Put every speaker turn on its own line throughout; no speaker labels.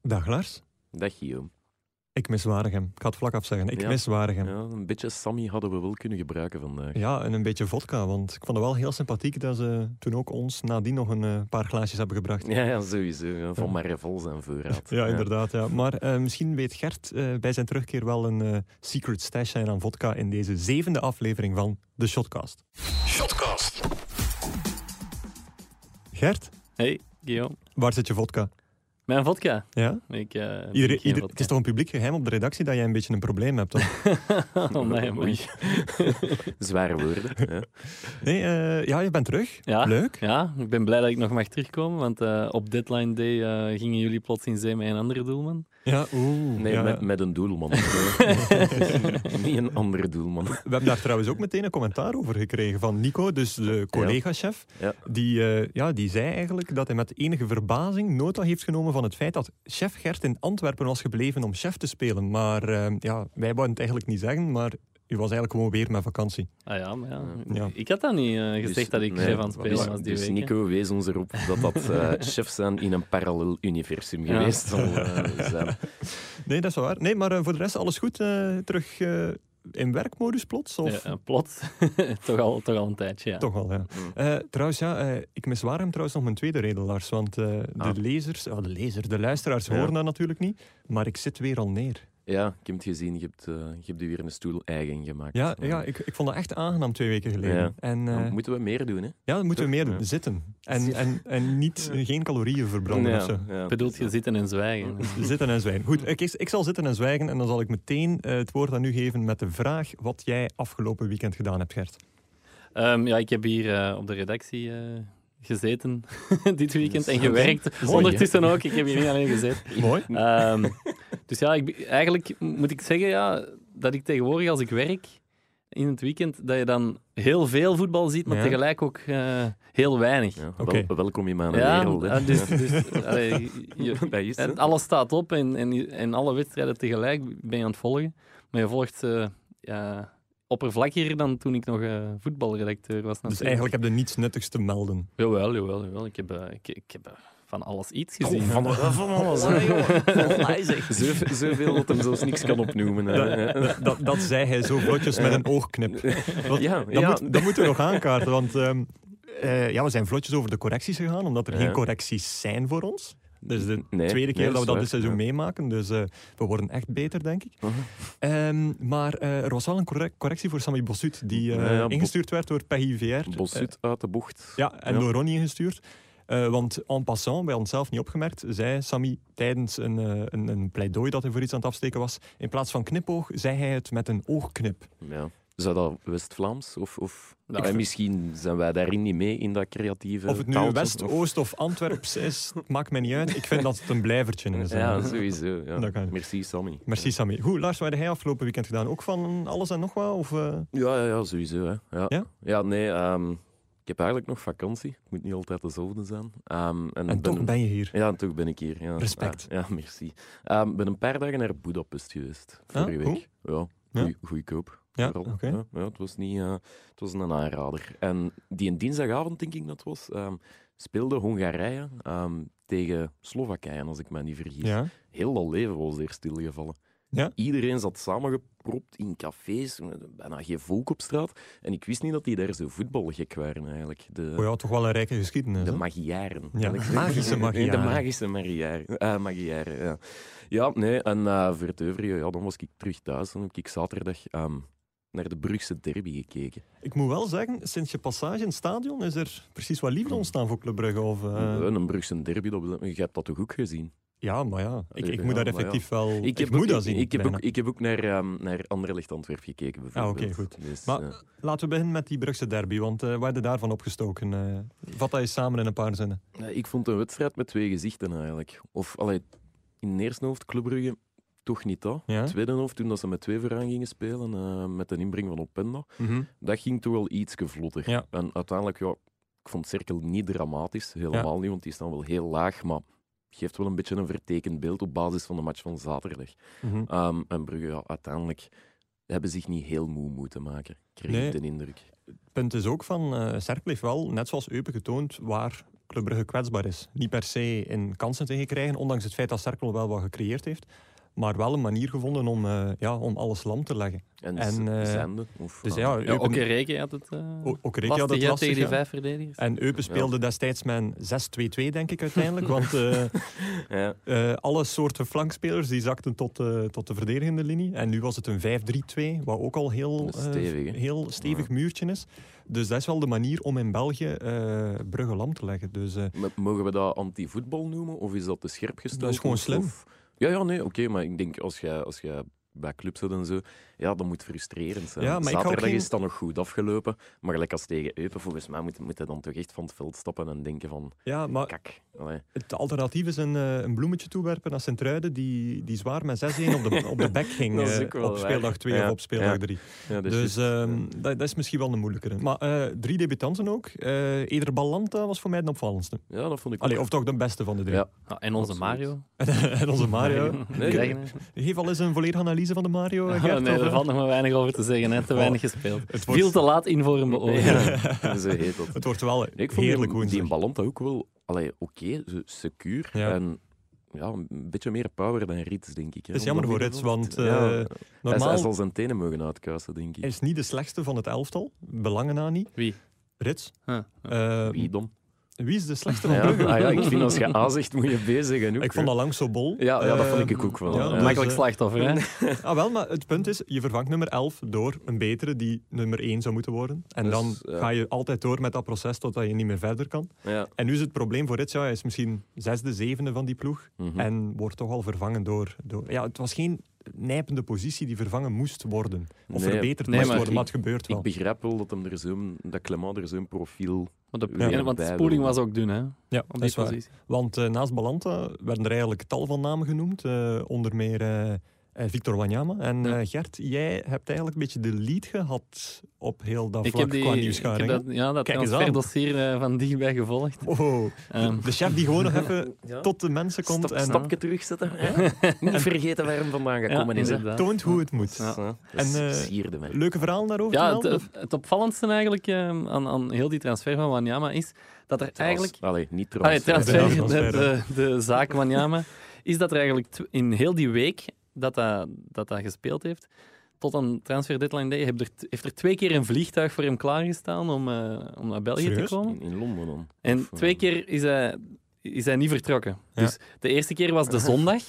Dag Lars.
Dag Guillaume.
Ik mis Waregem. Ik ga het vlak afzeggen. Ik
Ja.
mis
Ja,
Waregem. Ja.
een beetje Sammy hadden we wel kunnen gebruiken vandaag.
en een beetje vodka, want ik vond het wel heel sympathiek dat ze toen ook ons nadien nog een eh, paar glaasjes hebben gebracht.
Ja, ja sowieso. ja, van
Ja.
maar vol zijn voorraad.
Ja, inderdaad. Ja. Maar eh, misschien weet Gert eh, bij zijn terugkeer wel een eh, secret stash zijn aan vodka in deze zevende aflevering van de Shotcast.
Shotcast.
Gert,
Hey, Guillaume.
waar zit je vodka?
Mijn vodka.
Ja?
Ik, eh,
Iedereen-
drink geen
ieder- het
vodka.
is toch een publiek geheim op de redactie dat jij een beetje een probleem hebt? Toch?
oh, nee, man.
Oei. Zware woorden. Ja.
Nee, eh, ja, je bent terug.
Ja.
Leuk.
Ja, ik ben blij dat ik nog mag terugkomen, want eh, op deadline day eh, gingen jullie plots in zee met een andere doelman.
Ja, oeh.
Nee,
Ja,
met,
ja.
met een doelman. Niet een andere doelman.
We hebben daar trouwens ook meteen een commentaar over gekregen van Nico, dus de collega-chef.
Ja.
Die, eh, ja, die zei eigenlijk dat hij met enige verbazing nota heeft genomen van het feit dat chef Gert in Antwerpen was gebleven om chef te spelen. Maar eh, ja, wij wouden het eigenlijk niet zeggen, maar u was eigenlijk gewoon weer met vakantie.
Ah ja, maar ja.
Ja.
Ik had dat niet eh, gezegd
Dus-
dat ik
nee,
chef aan het spelen
dus,
was die
dus
week. hè.
Nico wees ons erop dat dat eh, chefs zijn in een parallel universum
Ja.
geweest zal eh, zijn.
Nee, dat is wel waar. Nee, maar eh, voor de rest alles goed. eh, terug eh, in werkmodus plots? Of?
Ja, eh, plots. toch, al, toch al een tijdje, ja.
Toch wel, ja. Eh, trouwens, ja, eh, ik mis waarom trouwens nog mijn tweede reden, Lars. Want eh,
Ah.
de lezers, ah, de lezer, de luisteraars
Ja.
horen dat natuurlijk niet. Maar ik zit weer al neer.
Ja, ik heb het gezien. Je hebt, eh, je hebt u weer een stoel eigen gemaakt.
Ja, ja ik, ik vond dat echt aangenaam twee weken geleden.
Ja.
En eh,
Dan moeten we meer doen, hè?
ja, dan moeten we meer doen.
Ja.
Zitten. En, en, en niet, geen calorieën verbranden of zo. Dus
ja.
Bedoelt je zitten en zwijgen?
Zitten en zwijgen. Goed, ik, ik zal zitten en zwijgen en dan zal ik meteen eh, het woord aan u geven met de vraag wat jij afgelopen weekend gedaan hebt, Gert.
Ehm, ja, ik heb hier eh, op de redactie eh, gezeten dit weekend en
Zo.
gewerkt.
Mooi,
Ondertussen ook, ik heb hier niet alleen gezeten.
Mooi.
Ehm, dus ja, ik, be- eigenlijk moet ik zeggen ja, dat ik tegenwoordig als ik werk in het weekend, dat je dan heel veel voetbal ziet, maar
Ja.
tegelijk ook eh, heel weinig.
Ja,
Oké.
wel, welkom in mijn
Ja,
wereld. Hè.
eh, dus, dus, allee, je-
Ja. Dat is
en
het.
alles staat op en, en, en alle wedstrijden tegelijk ben je aan het volgen. Maar je volgt ze ja, oppervlakkiger dan toen ik nog eh, voetbalredacteur was.
Dus
natuurlijk.
eigenlijk heb je niets nuttigs te melden.
Jawel, jawel, jawel. Ik heb, eh, ik, ik heb eh, van alles iets gezien.
alles. Zoveel, zoveel dat hem zelfs niks kan opnoemen. hè.
Dat, dat, dat zei hij zo vlotjes met een oogknip. Want
Ja,
dat,
ja.
Moet, dat moeten we nog aankaarten, want ehm, eh, ja, we zijn vlotjes over de correcties gegaan, omdat er
Ja.
geen correcties zijn voor ons. Dat is dus de
Nee,
tweede keer
nee,
dat we dat
is
dit
waar,
seizoen
ja.
meemaken, dus eh, we worden echt beter, denk ik.
Mhm.
Ehm, maar eh, er was wel een correc- correctie voor Sammy Bossut, die eh,
Ja, ja, Bo-
ingestuurd werd door Peggy VR.
Bossut uit de bocht.
Eh, ja, en
Ja.
door Ronnie ingestuurd. Eh, want en passant, bij onszelf niet opgemerkt, zei Sammy tijdens een, eh, een, een pleidooi dat hij voor iets aan het afsteken was, in plaats van knipoog, zei hij het met een oogknip.
Ja. Zou dat West-Vlaams? Of, of...
Nou,
Eh,
ik-
misschien zijn wij daarin niet mee in dat creatieve
Of het nu
taaltje,
West,
of-
Oost of Antwerps is, het maakt mij niet uit. Ik vind dat het een blijvertje is.
Ja, sowieso. Ja.
Dat kan.
Merci, Sammy.
Merci Sammy. Goed, Lars, wat heb jij afgelopen weekend gedaan? Ook van alles en nog wat? Of, eh?
Ja, ja, ja sowieso. Hè. Ja.
Ja?
Ja? nee. ehm, ik heb eigenlijk nog vakantie. Het moet niet altijd dezelfde zijn. Ehm, en
En
ben-
toch ben je hier.
Ja, en toch ben ik hier. Ja.
Respect.
Ah, ja, merci. Ik ben een paar dagen naar Budapest geweest.
Ah,
Vorige week. Ja,
Ja.
goeie- goedkoop.
Ja,
vooral.
oké.
ja, ja, het, was niet, eh, het was een aanrader. En die een dinsdagavond, denk ik dat was, ehm, speelde Hongarije ehm, tegen Slowakije, als ik me niet vergis.
Ja.
Heel dat leven was er stilgevallen.
Ja?
Iedereen zat samengepropt in cafés, bijna geen volk op straat. En ik wist niet dat die daar zo voetbalgek waren eigenlijk. De,
Oh ja, toch wel een rijke geschiedenis.
de
hè?
Magyaren.
Ja,
Wil ik
magische
zeggen.
Magyaren.
De magische Magyaren. Eh, Magyaren, ja. Ja, nee, en eh, voor het overige, ja, dan was ik terug thuis. Dan heb ik zaterdag ehm, naar de Brugse derby gekeken.
Ik moet wel zeggen, sinds je passage in het stadion is er precies wat liefde ontstaan voor Club Brugge. Of, eh,
Eh, een Brugse derby, dat, wil- je hebt dat toch ook gezien?
Ja, maar ja, ik, ik
Ja,
moet daar
maar ja.
effectief wel... Ik,
ook-
moet dat zien.
Ik, heb
bijna.
ook, ik heb ook naar, ehm naar Anderlecht Antwerp gekeken, bijvoorbeeld.
Ah, oké, goed.
Dus,
Maar-
eh,
Laten we beginnen met die Brugse derby, want eh we hadden daarvan opgestoken. eh vat dat eens samen in een paar zinnen.
eh, ik vond een wedstrijd met twee gezichten eigenlijk. Of, allee, in de eerste helft, Club Brugge, toch niet dat.
Ja?
Tweede helft, toen dat ze met twee vooraan gingen spelen, eh, met een inbreng van Openda.
Mhm.
dat ging toch wel iets vlotter.
Ja.
En uiteindelijk, ja, ik vond Cirkel niet dramatisch, helemaal niet, want die staan wel heel laag, maar geeft wel een beetje een vertekend beeld op basis van de match van zaterdag.
Mhm.
Ehm, en Brugge, ja, uiteindelijk hebben zich niet heel moe moeten maken, kreeg
Nee.
ik de indruk.
punt is ook van, eh Cercle heeft wel, net zoals Eupen getoond, waar Club Brugge kwetsbaar is. Niet per se in kansen tegen krijgen, ondanks het feit dat Cerkel wel wat gecreëerd heeft. Maar wel een manier gevonden om, eh, ja, om alles lam te leggen.
En,
En,
z-
eh,
zenden. Of,
Dus
ah,
ja,
Ja,
Eupen,
ook in Reken had het eh
O- ook Reken
lastig,
Oh, had het
hè,
lastig,
tegen die
ja.
vijf verdedigers.
En Eupen speelde destijds met een 6-2-2, denk ik uiteindelijk. want eh,
ja.
eh, alle soorten flankspelers die zakten tot, eh, tot de verdedigende linie. En nu was het een 5-3-2, wat ook al heel
Dat is stevig,
eh,
hè?
heel stevig muurtje is. Dus dat is wel de manier om in België eh Brugge lam te leggen. Dus eh,
M- Mogen we dat anti-voetbal noemen? Of is dat te scherp gesteld?
is gewoon
Of-
slim.
of- Ja, ja, nee, oké. maar ik denk, als jij als jij bij clubs zit en zo, ja, dat moet frustrerend zijn.
Ja, maar ik hou
Zaterdag
geen-
is dat nog goed afgelopen. Maar gelijk als tegen Eupen, volgens mij moet, moet hij dan toch echt van het veld stappen en denken van,
ja, maar
kak. Allee.
Het alternatief is een, eh, een bloemetje toewerpen naar Sint-Truiden, die, die zwaar met 6-1 op de, op de bek ging
Dat is
eh,
ook wel
op speeldag
waar.
2
Ja,
of op speeldag
ja.
3.
Ja, dat is eh,
dus
juist.
ehm, dat, dat is misschien wel een moeilijkere. Maar eh, drie debutanten ook. Eh Eder Ballanta was voor mij de opvallendste.
ja, dat vond ik
Allee,
ook.
of toch de beste van de drie.
Ja.
Ah, en onze
Absoluut.
Mario.
en onze Mario.
Nee,
Die
nee.
zeggen, hè.
Geef al eens een volledige analyse van de Mario. eh,
Ah,
Gert,
nee,
of,
daar
eh?
valt nog maar weinig over te zeggen. Hè. Te
Oh.
weinig gespeeld.
het,
Veel
wordt,
te laat in voor een beoordeling.
Oh, Ja, zo heet dat.
het wordt wel
Nee, ik vond
heerlijk
die, die
woensdag.
Ballant ook wel allee, oké, zo secuur.
Ja.
En ja, een beetje meer power dan Rits, denk ik. hè,
Het is
op
jammer
dat
voor Rits, want
middenveld.
eh
Ja. Hij, hij
normaal
zal zijn tenen mogen uitkuisen, denk ik.
is niet de slechtste van het elftal. Belangen na niet.
Wie?
Rits.
Huh.
Eh,
Wie dan?
wie is de slechtste van
Ja,
Brugge?
ah ja, ik vind als je A zegt, moet je B zeggen ook.
Ik vond dat lang zo bol.
Ja, ja, dat vond
Eh,
ik ook wel.
ja,
Ja,
dus,
Makkelijk
eh,
slachtoffer, hè?
Ah, wel, maar het punt is, je vervangt nummer 11 door een betere die nummer 1 zou moeten worden. En
Dus,
dan
ja.
ga je altijd door met dat proces totdat je niet meer verder kan.
Ja.
En nu is het probleem voor Rits, ja, hij is misschien zesde, zevende van die ploeg.
Mhm.
En wordt toch al vervangen door, door... Ja, het was geen nijpende positie die vervangen moest worden. Of
Nee,
verbeterd
nee,
moest
maar
worden,
ik-
maar het gebeurt wel.
Ik begrijp wel dat, hem er zo'n- dat Clement er zo'n profiel...
Want de,
Ja.
ja, want de
Bij
spoeling
wil-
was ook dun, hè?
ja,
Op
dat
die
is waar.
positie.
Want eh, naast Balanta werden er eigenlijk tal van namen genoemd. eh, onder meer eh, eh, Victor Wanyama. En
Ja.
eh, Gert, jij hebt eigenlijk een beetje de lead gehad op heel dat
Ik
vlak
heb die,
qua
ik heb
nieuwsgaring.
dat, ja, dat
Kijk eens aan.
transferdossier eh, van dichtbij gevolgd.
Oh,
Ehm,
de chef die gewoon nog even Eh, tot de mensen komt
Stap,
en
stapje terugzetten. Hè? Niet vergeten waar hem vandaan gekomen is. hè.
inderdaad.
toont hoe het moet.
Ja.
Ja.
En,
Dat
eh,
sierde mij.
Leuke verhaal daarover te
Ja,
melden,
het, eh, het opvallendste eigenlijk ehm, aan, aan heel die transfer van Wanyama is dat er eigenlijk...
Trans- Allee, niet
Ah, nee,
trouwens.
transfer,
Ja, transfer,
de, de, de zaak Wanyama, is dat er eigenlijk tw- in heel die week dat dat, dat, dat gespeeld heeft, tot aan transfer deadline day, heeft er, t- heeft er twee keer een vliegtuig voor hem klaargestaan om, eh, om naar België
Serieus?
te komen.
In, in Londen dan.
En
Of, eh,
twee keer is hij, is hij niet vertrokken.
Ja.
Dus de eerste keer was de zondag.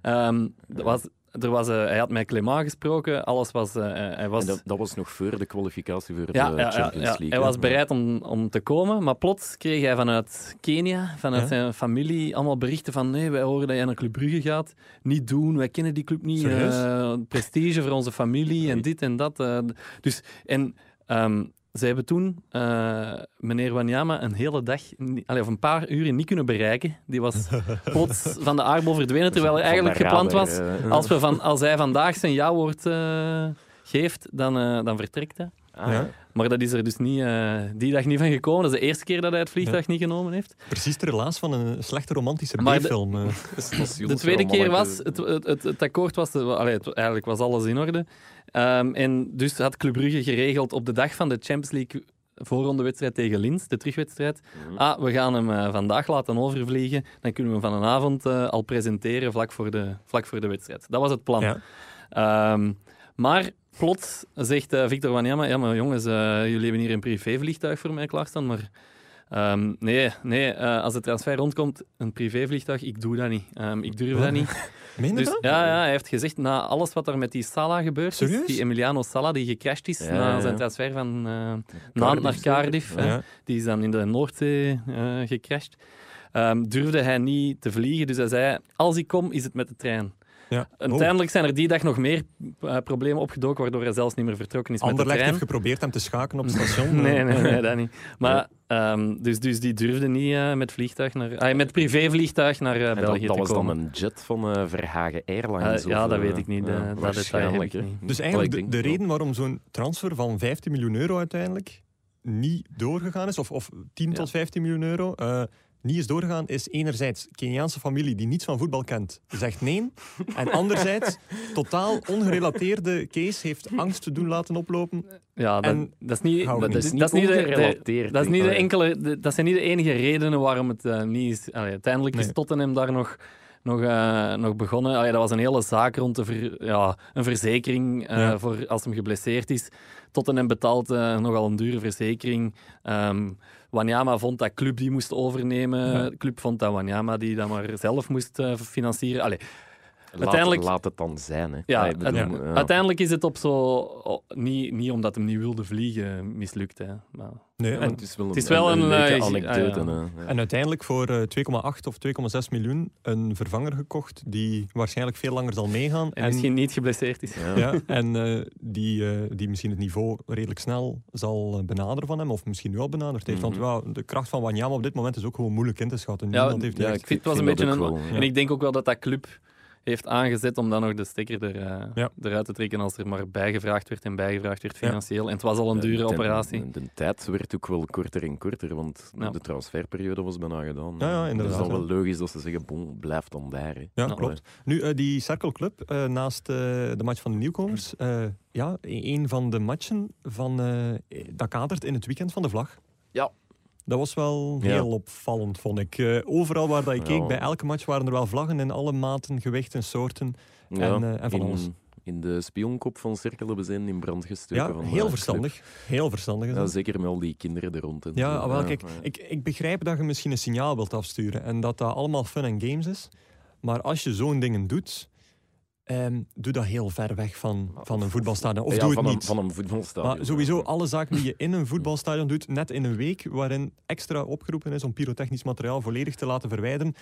Ehm, er was, er was, eh, hij had met Clément gesproken, alles was... eh, hij was
En dat, dat was nog voor de kwalificatie voor
ja,
de
ja, ja,
Champions
ja.
League.
hij
hè.
was bereid om, om te komen, maar plots kreeg hij vanuit Kenia, vanuit
Ja.
zijn familie, allemaal berichten van nee, wij horen dat jij naar Club Brugge gaat. Niet doen, wij kennen die club niet.
Serieus?
eh, prestige voor onze familie en
Oei.
dit en dat. eh. dus, en ehm, ze hebben toen eh, meneer Wanyama een hele dag, ni- allee, of een paar uren niet kunnen bereiken. Die was plots van de aardbol verdwenen, terwijl er
Van
eigenlijk
de
gepland
radar,
was.
eh.
Als, we van, als hij vandaag zijn ja-woord eh, geeft, dan, eh, dan vertrekt hij.
Ah,
Ja.
Maar dat is er dus niet, eh, die dag niet van gekomen. Dat is de eerste keer dat hij het vliegtuig niet genomen heeft.
Precies de relaas van een slechte romantische
Maar de-
B-film. eh.
De tweede keer was, het, het, het, het akkoord was, de, allee, het- eigenlijk was alles in orde. Ehm, en dus had Club Brugge geregeld op de dag van de Champions League voorronde wedstrijd tegen Linz, de terugwedstrijd.
Mhm.
Ah, we gaan hem eh, vandaag laten overvliegen. Dan kunnen we hem vanavond eh al presenteren vlak voor, de, vlak voor de wedstrijd. Dat was het plan.
Ja.
Ehm, maar plots zegt eh, Victor Wanyama, ja maar jongens, eh, jullie hebben hier een privévliegtuig voor mij klaarstaan, maar ehm, nee, nee eh, als de transfer rondkomt, een privévliegtuig, ik doe dat niet. Ehm, ik durf dat niet.
Meen je
Dus
dat?
ja, ja, hij heeft gezegd, na alles wat er met die Sala gebeurd is,
Serieus?
die Emiliano Sala die gecrashed is
Ja,
na
ja.
zijn transfer van eh Nantes naar
zeker?
Cardiff, hè,
Ja.
die is dan in de Noordzee eh, gecrashed, Ehm, durfde hij niet te vliegen. Dus hij zei, als ik kom, is het met de trein.
Ja. Oh,
Uiteindelijk zijn er die dag nog meer eh, problemen opgedoken, waardoor hij zelfs niet meer vertrokken is met de
Anderlecht
trein.
heeft geprobeerd hem te schaken op het station. eh.
Nee, nee, nee, dat niet. Maar, ehm, dus, dus die durfde niet eh, met, vliegtuig naar, ah, met privévliegtuig naar eh,
En dat,
België
dat was
te
dan
komen.
een jet van eh, Verhagen Airlines.
Eh, ja,
of,
dat
eh,
weet ik niet, eh, dat detail heb
waarschijnlijk,
ik
hè.
niet.
Dus
Allee, ik
eigenlijk de,
denk
de
wel.
reden waarom zo'n transfer van 15 miljoen euro uiteindelijk niet doorgegaan is, of, of 10
Ja.
tot 15 miljoen euro, eh, niet is doorgegaan, is enerzijds Keniaanse familie die niets van voetbal kent, zegt nee. En anderzijds, totaal ongerelateerde case heeft angst te doen laten oplopen.
Ja, dat,
En-
dat is niet,
Hou
dat
niet.
is, Dus dat is niet de- de,
ongerelateerd,
dat is niet
denk
de
ik.
enkele, de- dat zijn niet de enige redenen waarom het eh, niet is. Allee, uiteindelijk is
Nee.
Tottenham daar nog, nog, eh, nog begonnen. Allee, dat was een hele zaak rond de ver- ja, een verzekering eh,
Ja.
voor als hem geblesseerd is. Tottenham betaalt eh, nogal een dure verzekering. Ehm, Wanyama vond dat Club die moest overnemen. Club vond dat Wanyama die dat maar zelf moest eh, financieren. Allee,
Laat,
Uiteindelijk-
laat het dan zijn. Hè.
ja,
Ah, ik bedoel,
uiteindelijk-
ja.
Uiteindelijk is het op zo... oh, niet, niet omdat hem niet wilde vliegen mislukt. Hè. Maar,
Nee,
Ja, maar
en,
het is wel een,
het is wel een,
leuke
eh,
anekdote.
ah, ja.
hè. Ja.
en uiteindelijk voor eh, 2,8 of 2,6 miljoen een vervanger gekocht die waarschijnlijk veel langer zal meegaan.
en misschien niet geblesseerd is.
Ja.
Ja, en eh, die, eh, die misschien het niveau redelijk snel zal eh, benaderen van hem, of misschien nu al benaderd heeft.
Mhm.
Want ja, de kracht van Wanyama op dit moment is ook gewoon moeilijk in te schatten.
Ja,
Niemand heeft die
Ja,
echt-
ik vind het was een
dat
beetje
ook
een-
wel, ja.
En ik denk ook wel dat dat club heeft aangezet om dan nog de stekker er, eh,
Ja.
eruit te trekken als er maar bijgevraagd werd en bijgevraagd werd
Ja.
financieel. En het was al een
De-
dure
de-
operatie.
De, de tijd werd ook wel korter en korter, want
Ja.
de transferperiode was bijna gedaan.
Ja, ja,
Dus
inderdaad,
het is dan
ja.
wel logisch dat ze zeggen, bon, blijf dan daar. Hè.
Ja,
Ja.
klopt. Nu, eh, die Circle Club, eh, naast eh, de match van de nieuwkomers, eh, ja, e- een van de matchen van, eh, dat kadert in het weekend van de vlag.
Ja.
Dat was wel
Ja.
heel opvallend, vond ik. Eh, overal waar dat ik keek,
Ja.
bij elke match waren er wel vlaggen in alle maten, gewichten, soorten.
Ja,
En, eh, en van
in,
alles.
In de spionkop van Cirkel hebben ze een in brand gestoken.
Ja,
van,
heel
eh,
verstandig. Heel verstandig.
club.
Is
Ja,
dat.
zeker met al die kinderen er rond. en
Ja, ah,
zo.
wel, kijk,
ja.
ik, ik begrijp dat je misschien een signaal wilt afsturen en dat dat allemaal fun en games is. Maar als je zo'n dingen doet, ehm, doe dat heel ver weg van, van een voetbalstadion. Of
Ja,
doe het
van
niet.
Een, van een voetbalstadion.
Maar sowieso
ja.
alle zaken die je in een voetbalstadion doet, net in een week waarin extra opgeroepen is om pyrotechnisch materiaal volledig te laten verwijderen,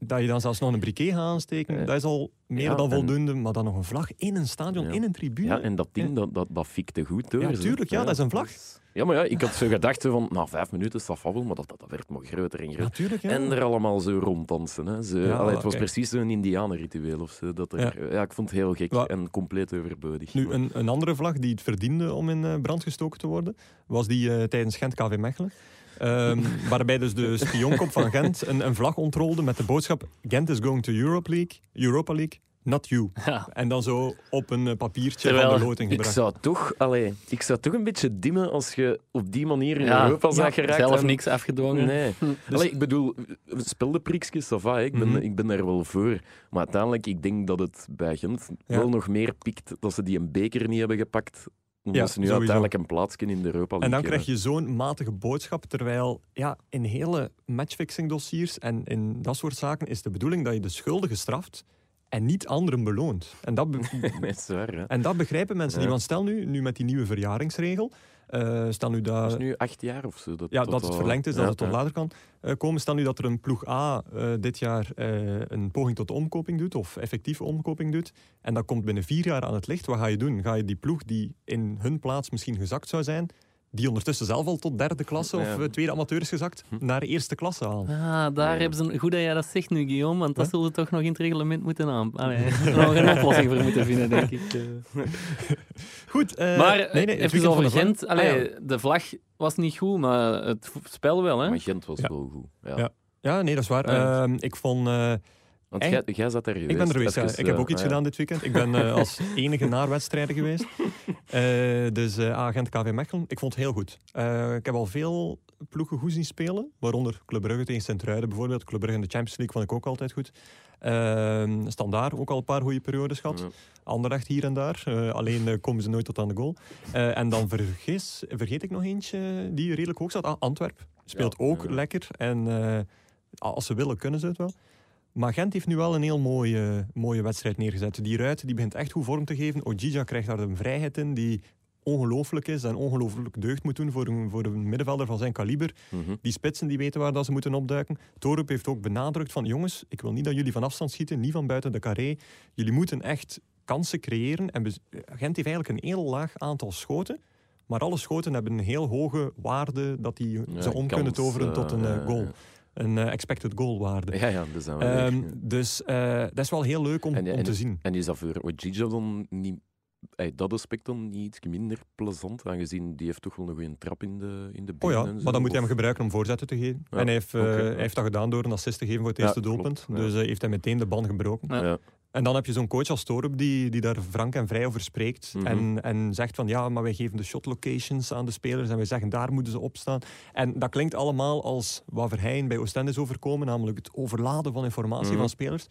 dat je dan zelfs nog een briquet gaat aansteken,
Eh,
dat is al meer
ja,
dan
en-
voldoende. Maar dan nog een vlag in een stadion,
Ja.
in een tribune.
Ja, en dat ding, dat, dat, dat fikte goed door.
Ja,
zo.
tuurlijk, ja, dat is een vlag.
dus- Ja, maar ja, ik had zo gedacht zo van, na vijf minuten is dat fabbel, maar dat, dat, dat werd maar groter en groter.
Natuurlijk, ja.
En er allemaal zo ronddansen. Hè. Zo,
Ja,
allee, het was
oké.
precies zo'n indianenritueel of zo. Dat er, ja. ik vond het heel gek
Wa-
en compleet overbodig.
Nu, een, een andere vlag die het verdiende om in eh, brand gestoken te worden, was die eh, tijdens Gent KV Mechelen. Ehm, waarbij dus de spionkop van Gent een, een vlag ontrolde met de boodschap Gent is going to Europe League, Europa League, not you.
Ja.
En dan zo op een eh, papiertje van
Terwijl-
de loting
ik
gebracht.
zou, toch, allee, ik zou toch een beetje dimmen als je op die manier in
Ja,
Europa zag
ja,
geraakt.
zelf
en-
niks afgedwongen. Hm.
Nee. Dus- Allee, ik bedoel, speldenprikjes, ça va, hè. ik, ben,
Dus Mhm.
ik ben daar wel voor. Maar uiteindelijk, ik denk dat het bij Gent
Ja.
wel nog meer pikt dat ze die een beker niet hebben gepakt. Omdat
Ja,
ze nu
sowieso.
uiteindelijk een plaatsje in de Europa
En
League
dan krijg je zo'n matige boodschap, terwijl ja, in hele matchfixing dossiers en in dat soort zaken is de bedoeling dat je de schuldigen straft en niet anderen beloont. En dat, be-
hebben. Dat is waar, hè.
En dat begrijpen mensen
Ja.
niet. Want stel nu, nu met die nieuwe verjaringsregel, eh, stel nu dat,
Dat is nu acht jaar of zo. Dat,
ja, dat het
al-
verlengd is, dat
Ja,
het tot
ja.
later kan eh, komen. Stel nu dat er een ploeg A eh, dit jaar eh, een poging tot omkoping doet, of effectieve omkoping doet, en dat komt binnen vier jaar aan het licht. Wat ga je doen? Ga je die ploeg die in hun plaats misschien gezakt zou zijn, die ondertussen zelf al tot derde klasse of
Ja.
eh, tweede amateur is gezakt, naar eerste klasse halen?
Ah, daar
Ja.
hebben ze een... Goed dat jij dat zegt nu, Guillaume, want dat
Ja.
zullen we toch nog in het reglement moeten aan... Allee, er nog een oplossing voor moeten vinden, denk ik. eh.
Goed, eh,
maar
nee, nee, het
even
weekend
zo
van
over
de vlag-
Gent.
Ah, ja.
Allee, De vlag was niet goed, maar het vo- spel wel, hè?
Maar Gent was
Ja.
wel goed. Ja.
Ja. Ja, nee, dat is waar.
Ja.
Ehm, ik vond... eh,
Want
En-
jij, jij zat daar geweest.
Ik ben er geweest. ja.
even,
Ik heb
eh,
ook iets
ah, ja.
gedaan dit weekend. Ik ben eh, als enige naar wedstrijden geweest. Eh, dus eh agent KV Mechelen. Ik vond het heel goed. Eh, ik heb al veel ploegen goed zien spelen. Waaronder Club Brugge tegen Sint-Truiden bijvoorbeeld. Club Brugge in de Champions League vond ik ook altijd goed. Ehm Standaard ook al een paar goede periodes gehad.
Ja.
Anderlecht hier en daar. Eh, alleen eh, komen ze nooit tot aan de goal. Eh, en dan vergis, vergeet ik nog eentje die redelijk hoog staat. Ah, Antwerp speelt
Ja,
ook
ja.
lekker. En eh, als ze willen, kunnen ze het wel. Maar Gent heeft nu wel een heel mooie, mooie wedstrijd neergezet. Die ruit die begint echt goed vorm te geven. Ojija krijgt daar een vrijheid in die ongelooflijk is en ongelooflijk deugd moet doen voor een, voor een middenvelder van zijn kaliber.
Mhm.
Die spitsen die weten waar dat ze moeten opduiken. Torup heeft ook benadrukt van jongens, ik wil niet dat jullie van afstand schieten, niet van buiten de carré. Jullie moeten echt kansen creëren. En bez- Gent heeft eigenlijk een heel laag aantal schoten. Maar alle schoten hebben een heel hoge waarde dat die
Ja,
ze om
kans,
kunnen toveren tot een
eh,
eh, goal. Een eh, expected goal waarde.
Ja, ja, daar zijn we weer.
Ehm, dus eh, dat is wel heel leuk om,
En-
om
en-
te zien.
En is dat voor Ojija dan niet ey, dat aspect dan niet iets minder plezant, aangezien die heeft toch wel een goede trap in de, in de
Oh
benen
ja,
en zo,
maar dan moet hij
of-
hem gebruiken om voorzetten te geven.
Ja,
en hij heeft, eh,
oké, ja.
hij heeft dat gedaan door een assist te geven voor het
Ja,
eerste
klopt,
doelpunt.
ja.
Dus eh, heeft hij meteen de band gebroken.
Ja.
Ja.
En dan heb je zo'n coach als Torup die, die daar frank en vrij over spreekt.
Mhm.
en, en zegt van ja, maar wij geven de shot locations aan de spelers en wij zeggen daar moeten ze op staan. En dat klinkt allemaal als wat Verheyen bij Oostende is overkomen, namelijk het overladen van informatie
Mhm.
van spelers.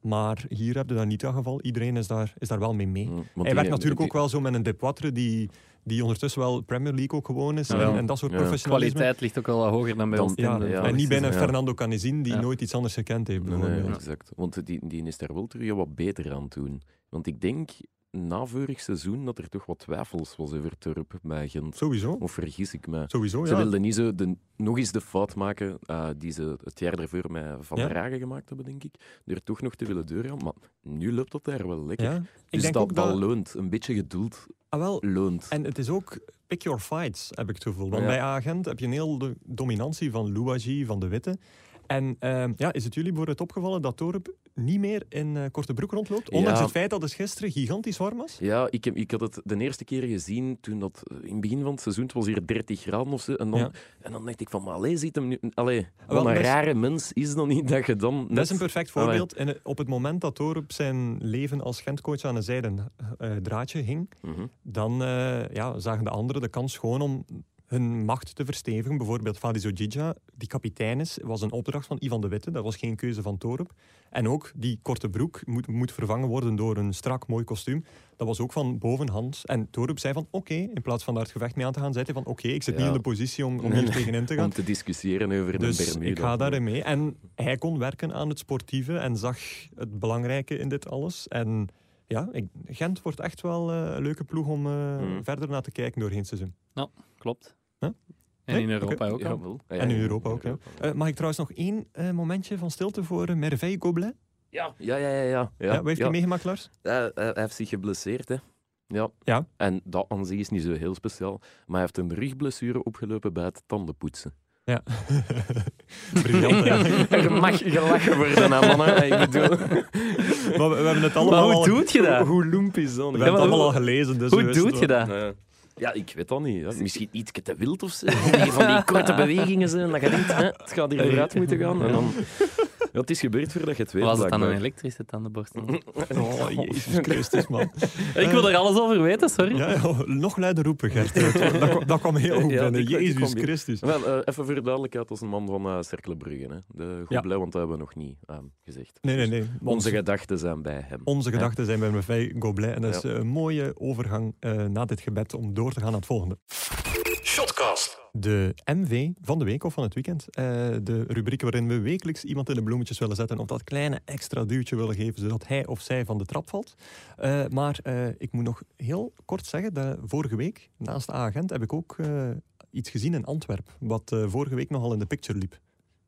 Maar hier heb je dat niet dat geval. Iedereen is daar, is daar wel mee mee.
Mm, want
Hij
die-
werkt natuurlijk
die-
ook wel zo met een De Poitre die, die ondertussen wel Premier League ook gewoon is.
Ja.
En, en dat soort
Ja.
professionalisme.
Kwaliteit ligt ook wel wat hoger dan bij
Dan-
ons.
Ja,
Ja, ja,
en
precies,
niet bij een
ja.
Fernando Canizin die
Ja.
nooit iets anders gekend heeft,
Nee,
bijvoorbeeld.
nee, exact. Want die, die is daar wel terug wat beter aan toen. Want ik denk na vorig seizoen dat er toch wat twijfels was over Turp bij Gent.
Sowieso.
Of vergis ik me?
Sowieso,
Ze
Oh ja.
wilden niet zo de, nog eens de fout maken eh, die ze het jaar daarvoor met Van
Ja.
der Hagen gemaakt hebben, denk ik. Er toch nog te willen doorgaan. Maar nu loopt dat daar wel lekker.
Ja.
Dus
Ik denk
dat,
ook
dat
dat...
loont. Een beetje geduld
Ah, wel,
loont.
en het is ook pick your fights, heb ik het gevoel. Want
Ja.
bij Agent heb je een heel de dominantie van Louagie, van de Witte. En ehm, ja, is het jullie bijvoorbeeld opgevallen dat Torup niet meer in eh, korte broek rondloopt? Ondanks
Ja.
het feit dat het gisteren gigantisch warm was.
Ja, ik, heb, ik had het de eerste keer gezien toen dat eh, in het begin van het seizoen, het was hier 30 graden of zo. En dan,
Ja.
en dan dacht ik van, maar allee, ziet hem nu. Allee,
Wel,
wat een
dat is-
rare mens is dan niet dat je dan. Net,
Dat is een perfect
Allee.
voorbeeld. En eh, op het moment dat Torup zijn leven als Gentcoach aan een zijden eh, draadje hing,
Mhm.
dan eh, ja, zagen de anderen de kans gewoon om hun macht te verstevigen. Bijvoorbeeld Fadi Zogidja, die kapitein is, was een opdracht van Ivan de Witte. Dat was geen keuze van Torup. En ook die korte broek moet, moet vervangen worden door een strak, mooi kostuum. Dat was ook van bovenhand. En Torup zei van, oké, in plaats van daar het gevecht mee aan te gaan, zei hij van, oké, ik zit
Ja.
niet in de positie om, om
Nee,
hier
nee.
tegenin te gaan.
Om te discussiëren over de
Dus
Bermuda.
ik ga daarin mee. En hij kon werken aan het sportieve en zag het belangrijke in dit alles. En ja, ik- Gent wordt echt wel eh, een leuke ploeg om eh,
Mm.
verder naar te kijken doorheen het seizoen.
Klopt.
Huh?
En
Nee?
in Europa ook.
Ja,
al.
wel.
en in Europa ook. ja. Eh, mag ik trouwens nog één eh, momentje van stilte voor uh, Merveille Goblet?
Ja, Ah, ja, ja. ja, ja,
Ja,
ja,
wat heeft
ja.
hij meegemaakt, Lars?
Eh, eh, hij heeft zich geblesseerd, hè. Ja.
Ja.
En dat aan zich is niet zo heel speciaal. Maar hij heeft een rugblessure opgelopen bij het tandenpoetsen.
Ja. Briljant, ja.
er mag gelachen worden, hè, mannen. Ik bedoel...
Maar we, we hebben het allemaal,
Maar hoe
al,
doet je dat?
Hoe loemp is dat?
we
Ja,
hebben het allemaal
maar hoe-
al gelezen. Dus we
Hoe
wisten
doet je
wel.
dat?
nou Ja, ik weet dat niet. hè. Misschien iets te wild of zo. Die van die korte bewegingen zijn. Dat je denkt, hè, het gaat hier vooruit moeten gaan. En dan, ja, het is gebeurd voordat je het weet.
Was het dan een
blijkbaar.
elektrische tandenborstel?
Oh, jezus Christus, man.
Ik wil er alles over weten, sorry.
Ja, ja, nog luider roepen, Gert. Dat, kwam- dat kwam heel goed
Ja, die
binnen.
kwam- die
Jezus
kwam binnen.
Christus.
Wel, eh, even voor de duidelijkheid, dat is een man van eh Cercle Brugge. Hè. De goed
Ja.
blij, want dat hebben we nog niet ehm, gezegd.
Nee, nee, nee.
Onze gedachten zijn bij hem.
Onze gedachten zijn bij Mevij Goblet. En dat is
Ja.
een mooie overgang eh, na dit gebed om door te gaan naar het volgende. Shotcast. De MV van de week of van het weekend. Eh, de rubriek waarin we wekelijks iemand in de bloemetjes willen zetten. Of dat kleine extra duwtje willen geven, zodat hij of zij van de trap valt. Eh, maar eh, ik moet nog heel kort zeggen dat vorige week, naast A-agent, heb ik ook eh, iets gezien in Antwerpen. Wat eh, vorige week nogal in de picture liep.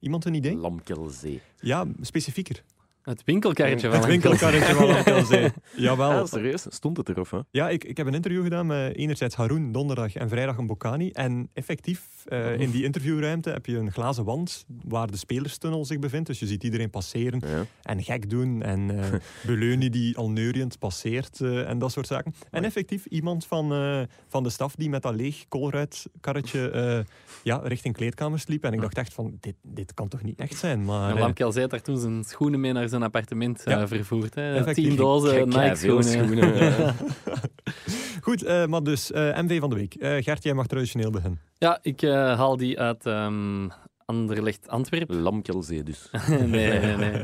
Iemand een idee?
Lamkelzee.
Ja, specifieker.
Het winkelkarretje van
Het winkelkarretje van Lamkelzee.
Ah,
Jawel.
serieus? Stond het erop, hè?
Ja, ik, ik heb een interview gedaan met enerzijds Haroon donderdag en vrijdag een Bocani. En effectief, eh, in die interviewruimte heb je een glazen wand waar de spelerstunnel zich bevindt. Dus je ziet iedereen passeren
Ja.
en gek doen. En eh Beleuni die al neuriënd passeert eh, en dat soort zaken. En effectief iemand van, eh, van de staf die met dat leeg koolruitkarretje eh, ja, richting kleedkamers liep. En ik dacht echt van, dit, dit kan toch niet echt zijn? Maar,
En
eh,
Lamkel zei daar toen zijn schoenen mee naar zijn appartement eh,
Ja.
vervoerd. Hè.
Effectief.
Tien dozen
Kijk, ja, veel
Nike-schoenen.
schoenen, ja.
goed, eh, maar dus eh, MV van de week. Eh, Gert, jij mag traditioneel beginnen.
Ja, ik eh, haal die uit ehm, Anderlecht Antwerpen.
Lamkelzee dus.
nee, nee, nee. Nee.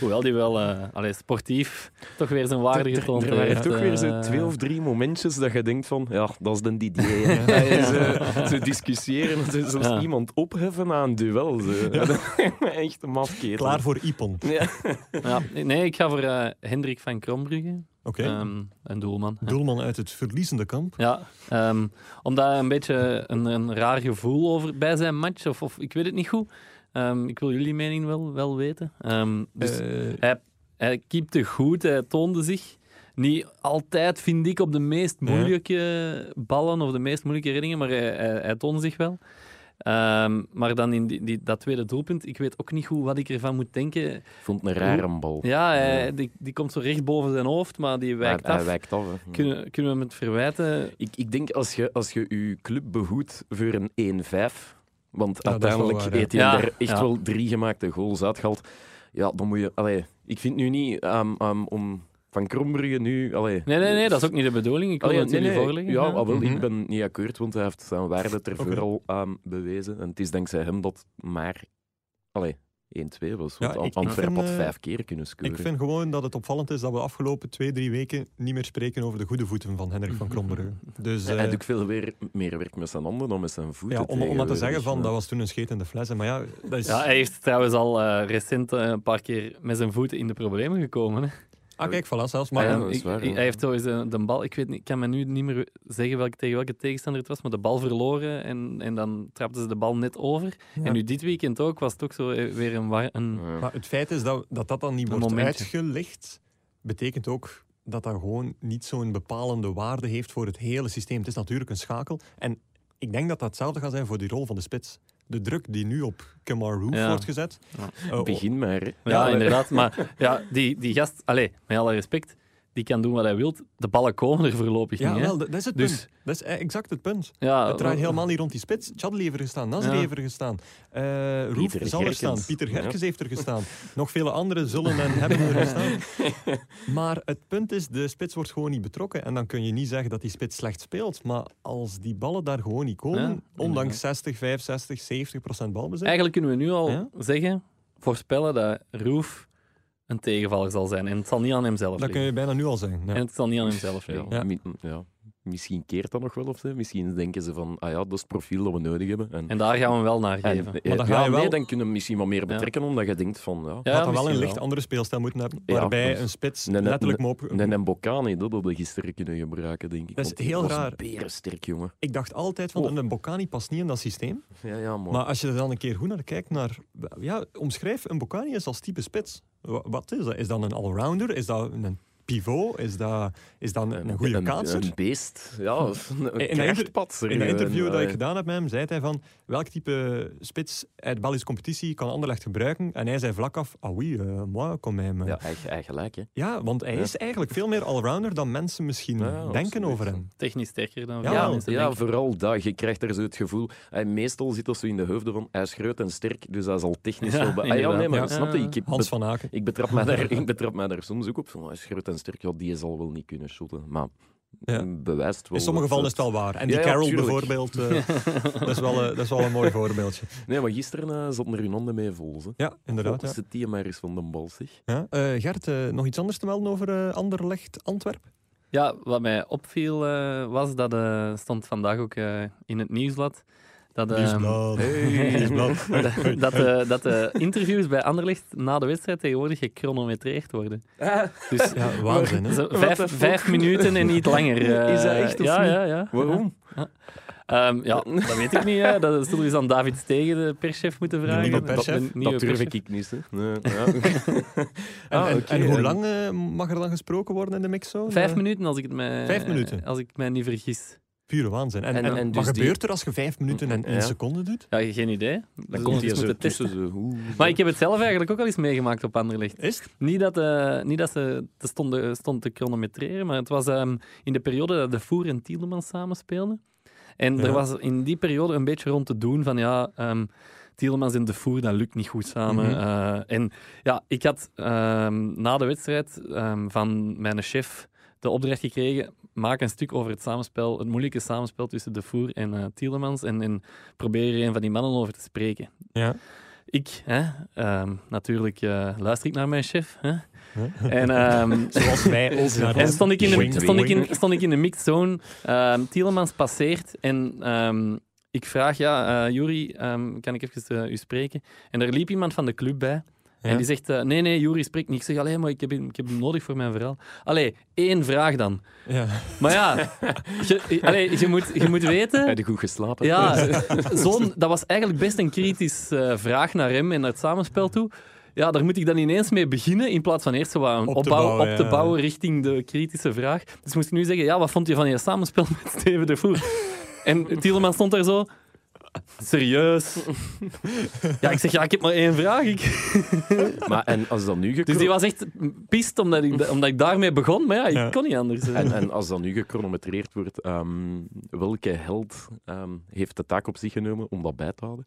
Hoewel die wel eh, allee, sportief toch weer zijn waarde
Er-
getoond
Er waren
heeft.
toch weer
eh,
zo twee of drie momentjes dat je denkt van, ja, dat is de Didier. hè. Hij is, eh, Ze discussiëren, ze zelfs
Ja.
iemand opheffen aan een duel. Ze. Echt een mafketel.
Klaar voor Ipon. Oké.
Ja.
ja, nee, ik ga voor eh, Hendrik van Krombrugge, ehm, een doelman. hè.
Doelman uit het verliezende kamp.
Ja, ehm, omdat een beetje een, een raar gevoel over, bij zijn match, of, of ik weet het niet goed. Ehm, ik wil jullie mening wel, wel weten. Ehm, dus
Eh,
hij, hij keepte goed, hij toonde zich. Niet altijd, vind ik, op de meest moeilijke ballen of de meest moeilijke reddingen, maar hij, hij, hij toonde zich wel. Ehm, maar dan in die, die- dat tweede doelpunt, ik weet ook niet goed wat ik ervan moet denken.
Ik vond het een rare bal.
Ja, hij-
Ja.
die, die komt zo recht boven zijn hoofd, maar die wijkt
hij,
af.
hij wijkt af. hè. Ja.
Kunnen, kunnen we hem het verwijten?
Ik, ik denk als je, als je je club behoedt voor een 1-5, want
Ja, dat is wel
uiteindelijk
waar, hè.
heeft hij
Ja,
er echt
ja.
wel drie gemaakte goals uitgehaald. Ja, dan moet je. Allee, ik vind nu niet ehm, ehm, om van Krombrugge nu. Allee,
Nee, nee, nee, dat is ook niet de bedoeling. Ik wil
Allee,
het
nee,
jullie
nee,
voorleggen.
Oh Ja, ah, wel,
Mhm.
ik ben niet akkoord, want hij heeft zijn waarde ter
Oké.
vooral ehm, bewezen. En het is dankzij hem dat maar allee, 1-2 was. Want
Ja,
An-
ik- ik
Antwerpen
vind,
had
eh,
vijf keer kunnen scoren.
Ik vind gewoon dat het opvallend is dat we de afgelopen twee, drie weken niet meer spreken over de goede voeten van Hendrik
Mhm.
van Krombrugge. Dus
Hij-
eh,
hij doet veel weer, meer werk met zijn handen dan met zijn voeten.
ja, om, om maar te
tegenwoordig,
zeggen van
eh, dus, ja.
dat was toen een scheet in de fles. hè. Maar ja, dat is...
Ja, hij heeft trouwens al eh, recent eh, een paar keer met zijn voeten in de problemen gekomen. Hè.
Ah, kijk, voilà, zelfs. Maar
Ja,
ja,
dat is
Ik-
waar,
ik-
ja.
hij heeft zo eens een, de bal, ik weet niet, ik kan me nu niet meer zeggen welke, tegen welke tegenstander het was, maar de bal verloren en, en dan trapten ze de bal net over.
Ja.
En nu dit weekend ook was het ook zo eh, weer een, war- een
Ja.
Maar het feit is dat dat, dat dan niet
Een
wordt
momentje.
uitgelicht, betekent ook dat dat gewoon niet zo'n bepalende waarde heeft voor het hele systeem. Het is natuurlijk een schakel. En ik denk dat dat hetzelfde gaat zijn voor die rol van de spits. De druk die nu op Kamaru
Ja.
wordt gezet.
Ja.
eh, o-
Begin maar. hè.
Ja, inderdaad. Maar ja, die, die gast, allee, met alle respect, die kan doen wat hij wil. De ballen komen er voorlopig
ja,
niet. Hè?
wel, dat dat is het
Dus-
punt. Dat is eh, exact het punt.
Ja,
Het draait helemaal niet rond die spits. Chadli heeft er gestaan, Nasri
Ja.
heeft er gestaan, eh Roef
Pieter
zal er staan,
Gerkens.
Pieter
Ja.
Gerkes heeft er gestaan. Nog vele anderen zullen en hebben er gestaan. Maar het punt is, de spits wordt gewoon niet betrokken. En dan kun je niet zeggen dat die spits slecht speelt. Maar als die ballen daar gewoon niet komen,
Ja,
ondanks 60, 65, 70 procent balbezit...
Eigenlijk kunnen we nu al
Ja?
zeggen, voorspellen dat Roef een tegenvaller zal zijn. En het zal niet aan hemzelf
dat
liggen.
kun je bijna nu al zeggen. Ja.
En het zal niet aan hemzelf
Ja,
liggen.
Ja.
mi- ja. Misschien keert dat nog wel of zo. Misschien denken ze van, ah ja, dat is het profiel dat we nodig hebben. En,
En daar gaan we wel naar
en-
geven.
eh,
dan ga
ja,
je wel-
nee, dan kunnen we misschien wat meer betrekken, omdat je denkt van, ja,
Ja,
Had dan wel een
misschien
licht andere speelstijl moeten hebben,
Ja,
waarbij
dat is-
een spits
Nee, nee,
letterlijk
nee,
mop...
een Mbokani, dat hadden we gisteren kunnen gebruiken, denk ik.
Dat is
want die
heel
was
raar.
berensterk, jongen.
Ik dacht altijd van,
Oh.
een Bocani past niet in dat systeem.
Ja, ja, maar...
Maar als je er dan een keer goed naar kijkt, naar, ja, omschrijf een Bocani eens als type spits. Wa- Wat is dat? Is dat een allrounder? Is dat een pivot? Is dat, is dat een, een goede
een,
kaatser?
Een beest. Ja, een,
In
een
een inter-
krachtpatser.
In een interview
Een,
dat ik
eh,
gedaan heb met hem, zei hij van welk type spits uit Belgische competitie kan Anderlecht gebruiken? En hij zei vlak af, ah oui, eh, moi, kom mij.
Ja, eigen- eigenlijk, hè.
Ja, want hij
Ja.
is eigenlijk veel meer allrounder dan mensen misschien
Ja,
denken
absoluut.
over hem.
Technisch sterker dan
Ja,
veel
Ja,
mensen
ja,
denken.
vooral dat. Je krijgt er zo het gevoel... Hij meestal zit dat zo in de hoofden van... Hij is groot en sterk, dus hij zal technisch
Ja,
wel... be- Ah, ja, nee, maar
inderdaad.
snap je? Ik, heb-
Hans van Aken.
ik, betrap mij daar, ik betrap mij daar soms ook op. Van, hij is groot en sterk. Ja, die zal wel niet kunnen shotten. Maar
Ja.
bewijst wel...
In sommige
dat
gevallen is het wel waar. En
Ja,
die
ja,
Carroll
tuurlijk.
bijvoorbeeld, eh, dat, is wel, eh, dat is wel een mooi voorbeeldje.
Nee, maar gisteren eh, zat zaten er hun handen mee vol. Ze.
Ja, inderdaad. ja.
Volgens het maar eens van de bal, zeg.
Ja. eh, Gert, eh, nog iets anders te melden over eh, Anderlecht Antwerp?
Ja, wat mij opviel eh, was dat eh, stond vandaag ook eh, in het nieuwsblad. Dat, eh, dat, dat, eh, dat de interviews bij Anderlecht na de wedstrijd tegenwoordig gechronometreerd worden. Dus
Ja, waanzin. hè?
zo
the
vijf,
eh, fuck?
vijf minuten en niet langer. eh.
Is dat echt of
ja,
niet?
ja, ja.
Waarom?
Ehm, ja, dat weet ik niet. Hè. Dat zullen we eens aan David Stegen, de perschef, moeten vragen.
nieuwe perschef?
de nieuwe
dat durf
perschef.
ik niet. Hè. Nee, ja.
En,
Ah,
en,
oké,
en hoe
en-
lang eh, mag er dan gesproken worden in de mixzone?
Vijf
Eh,
minuten, als ik het mij,
Vijf minuten?
Als ik mij niet vergis.
Pure waanzin. En,
En-
en,
en dus
wat
die-
gebeurt er als je vijf minuten en één
Ja.
seconde doet?
Ja, geen idee.
Dan
Dus
komt
we
hij zo
moeten
tussen.
testen.
Zo, hoe-
Maar ik heb het zelf eigenlijk ook al eens meegemaakt op Anderlecht.
Is het?
Niet dat, eh, niet dat ze te stonden, stond te chronometreren, maar het was ehm, in de periode dat De Voer en Tielemans samen speelden. En
Ja.
er was in die periode een beetje rond te doen van ja, ehm Tielemans en De Voer, dat lukt niet goed samen.
Mhm.
Eh, en ja, ik had ehm, na de wedstrijd ehm, van mijn chef de opdracht gekregen, maak een stuk over het samenspel, het moeilijke samenspel tussen De Voer en eh Tielemans en, en probeer er een van die mannen over te spreken.
Ja.
Ik, hè, ehm, natuurlijk eh, luister ik naar mijn chef. Hè? En, ehm,
Zoals wij ook naar
en stond, ik in
Wink,
de,
wink.
stond, ik in, stond ik in de mixed zone. ehm Tielemans passeert en ehm, ik vraag, ja, eh Juri, ehm, kan ik even eh, u spreken? En er liep iemand van de club bij.
Ja.
En die zegt, eh, nee, nee, Juri spreekt niet. Ik zeg, alleen maar ik heb, hem, ik heb hem nodig voor mijn verhaal. Allee, één vraag dan.
Ja.
Maar ja, je, allee, je, moet, je moet weten...
Heb je goed geslapen?
Ja, zo'n, dat was eigenlijk best een kritische eh, vraag naar hem en naar het samenspel toe. Ja, daar moet ik dan ineens mee beginnen, in plaats van eerst zo wat een
Op te
opbouw
bouwen,
op te
ja.
bouwen richting de kritische vraag. Dus moest ik nu zeggen, ja, wat vond je van je samenspel met Steven de Voer? En Tieleman stond daar zo... Serieus? Ja, ik zeg, ja, ik heb maar één vraag. Ik...
Maar en als dat nu
Dus die
gecron-
was echt pist omdat ik, omdat ik daarmee begon, maar ja, ik
Ja.
kon niet anders.
en, en als dat nu gechronometreerd wordt, ehm, welke held ehm, heeft de taak op zich genomen om dat bij te houden?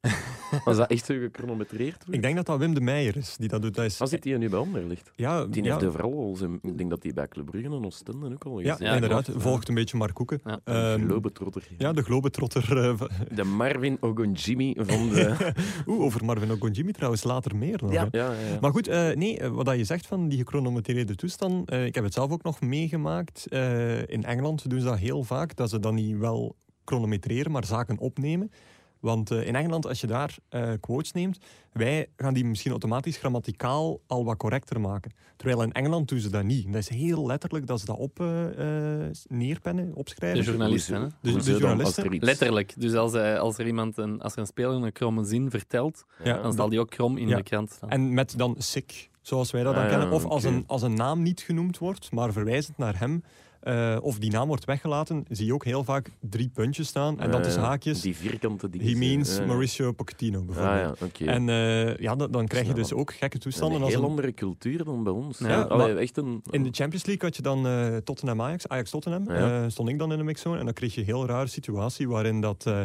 Als dat echt zo gechronometreerd wordt?
Ik denk dat dat Wim de Meijer is die dat doet. Dat is,
Als zit die nu bij onder ligt.
ja,
Die
ja,
heeft overal al zijn... Ik denk dat die bij Club Brugge en Oostende ook al
ja,
is.
Ja,
inderdaad.
klopt, ja.
Volgt een beetje Mark Koeken.
Ja.
Ehm,
Globetrotter.
ja, de globetrotter. eh, van-
De Marvin Ogunjimi van de...
Oeh, over Marvin Ogonjimi trouwens later meer. nog, hè.
ja, ja.
Maar goed, eh, nee, eh, wat dat je zegt van die gechronometreerde toestand, eh, ik heb het zelf ook nog meegemaakt. Eh, in Engeland doen ze dat heel vaak, dat ze dan niet wel chronometreren, maar zaken opnemen. Want eh, in Engeland, als je daar eh, quotes neemt, wij gaan die misschien automatisch grammaticaal al wat correcter maken. Terwijl in Engeland doen ze dat niet. Dat is heel letterlijk dat ze dat op eh, eh, neerpennen,
De
opschrijven.
journalisten, hè?
Dus- dus
Hoezo dan, als
journalisten?
er iets-
Letterlijk. Dus als, hij- als er iemand een, als er een speler een kromme zin vertelt,
Ja,
dan zal die ook krom in
Ja.
de krant staan.
En met dan sick, zoals wij dat dan
Ah, ja,
kennen. Of als,
oké.
een, als een naam niet genoemd wordt, maar verwijzend naar hem, eh, of die naam wordt weggelaten, zie je ook heel vaak drie puntjes staan. En dan
Eh,
tussen haakjes,
Die vierkante dingen.
he means
Ja.
Mauricio Pochettino,
Ah
bijvoorbeeld.
ja, oké.
En eh, ja, dan, dan krijg je
Snap
dus
hem.
ook gekke
een
toestanden. Als
heel
een-
andere cultuur dan bij ons.
Ja,
Ja,
maar-
Allee, echt een...
in de Champions League had je dan eh, Tottenham-Ajax, Ajax-Tottenham,
Ja.
eh, stond ik dan in de mixzone. En dan kreeg je een heel rare situatie waarin dat... eh,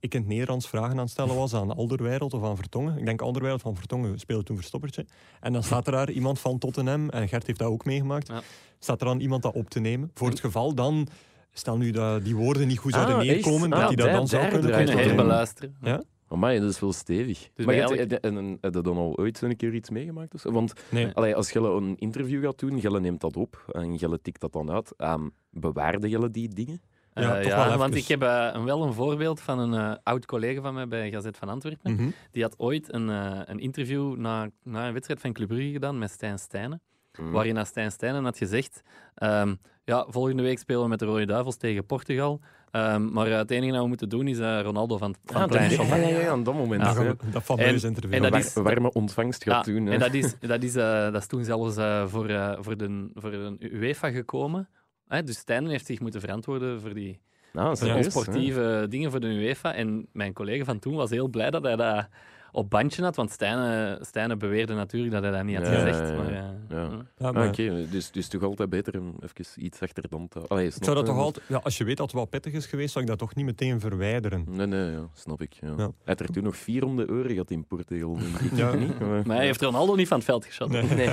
ik in het Nederlands vragen aan het stellen was aan Alderwereld of aan Vertongen. Ik denk Alderwereld van Vertongen speelde toen Verstoppertje. En dan staat er daar iemand van Tottenham, en Gert heeft dat ook meegemaakt,
Ja.
staat er dan iemand dat op te nemen. Voor het geval dan, stel nu dat die woorden niet goed zouden
Ah, echt?
neerkomen,
Ah,
dat die dat
daar-
dan zou
daar
kunnen
draait
Kunnen
het om.
controleren.
herbeluisteren.
Ja.
Amai, dat is wel stevig.
Dus
maar
bij
heb je,
elk-
en- en- en- heb je dan al ooit zo'n keer iets meegemaakt? of zo? Want
Nee.
allee, als Gelle een interview gaat doen, Gelle neemt dat op en Gelle tikt dat dan uit. Ehm, bewaarde Gelle die dingen?
Ja,
Eh,
toch
ja,
wel even.
want ik heb eh, een- wel een voorbeeld van een eh, oud collega van mij bij Gazet van Antwerpen.
Mhm.
Die had ooit een, eh, een interview na, na een wedstrijd van Club Brugge gedaan met Stijn Stijnen.
Mm.
Waarin dat Stijn Stijnen had gezegd... ehm, ja, volgende week spelen we met de Rode Duivels tegen Portugal. Ehm, maar eh, het enige dat we moeten doen is eh, Ronaldo van, van
Ah,
het
dat,
plein
ja,
schoppen.
ja, ja, ja, aan dat moment.
Dat
ja.
gaan we- Dat fameuze interview.
en dat
Waar-
is-
warme ontvangst gaat
Ja,
doen. hè.
En dat is, dat is, eh, dat is toen zelfs eh, voor, eh, voor, de, voor de UEFA gekomen. Hè, dus Stijn heeft zich moeten verantwoorden voor die
Ah,
Ja.
serieus, hè?
sportieve dingen voor de UEFA. En mijn collega van toen was heel blij dat hij dat op bandje had. Want Stijn, eh, Stijn beweerde natuurlijk dat hij dat niet had
Ja,
gezegd.
ja, ja.
Maar, eh,
Ja.
ja.
Ja,
Ah,
maar-
Oké, dus, dus toch altijd beter om even iets achter dan te... Allee,
Ik
snap
zou dat
je?
toch altijd, ja, als je weet dat het wel pittig is geweest, zou ik dat toch niet meteen verwijderen.
Nee, nee, ja, snap ik. Ja.
Ja.
Hij had er toen nog 400 euro gehad in Portugal, denk ik.
Ja.
Niet? Maar,
Maar hij heeft Ronaldo niet van het veld geschot.
Nee.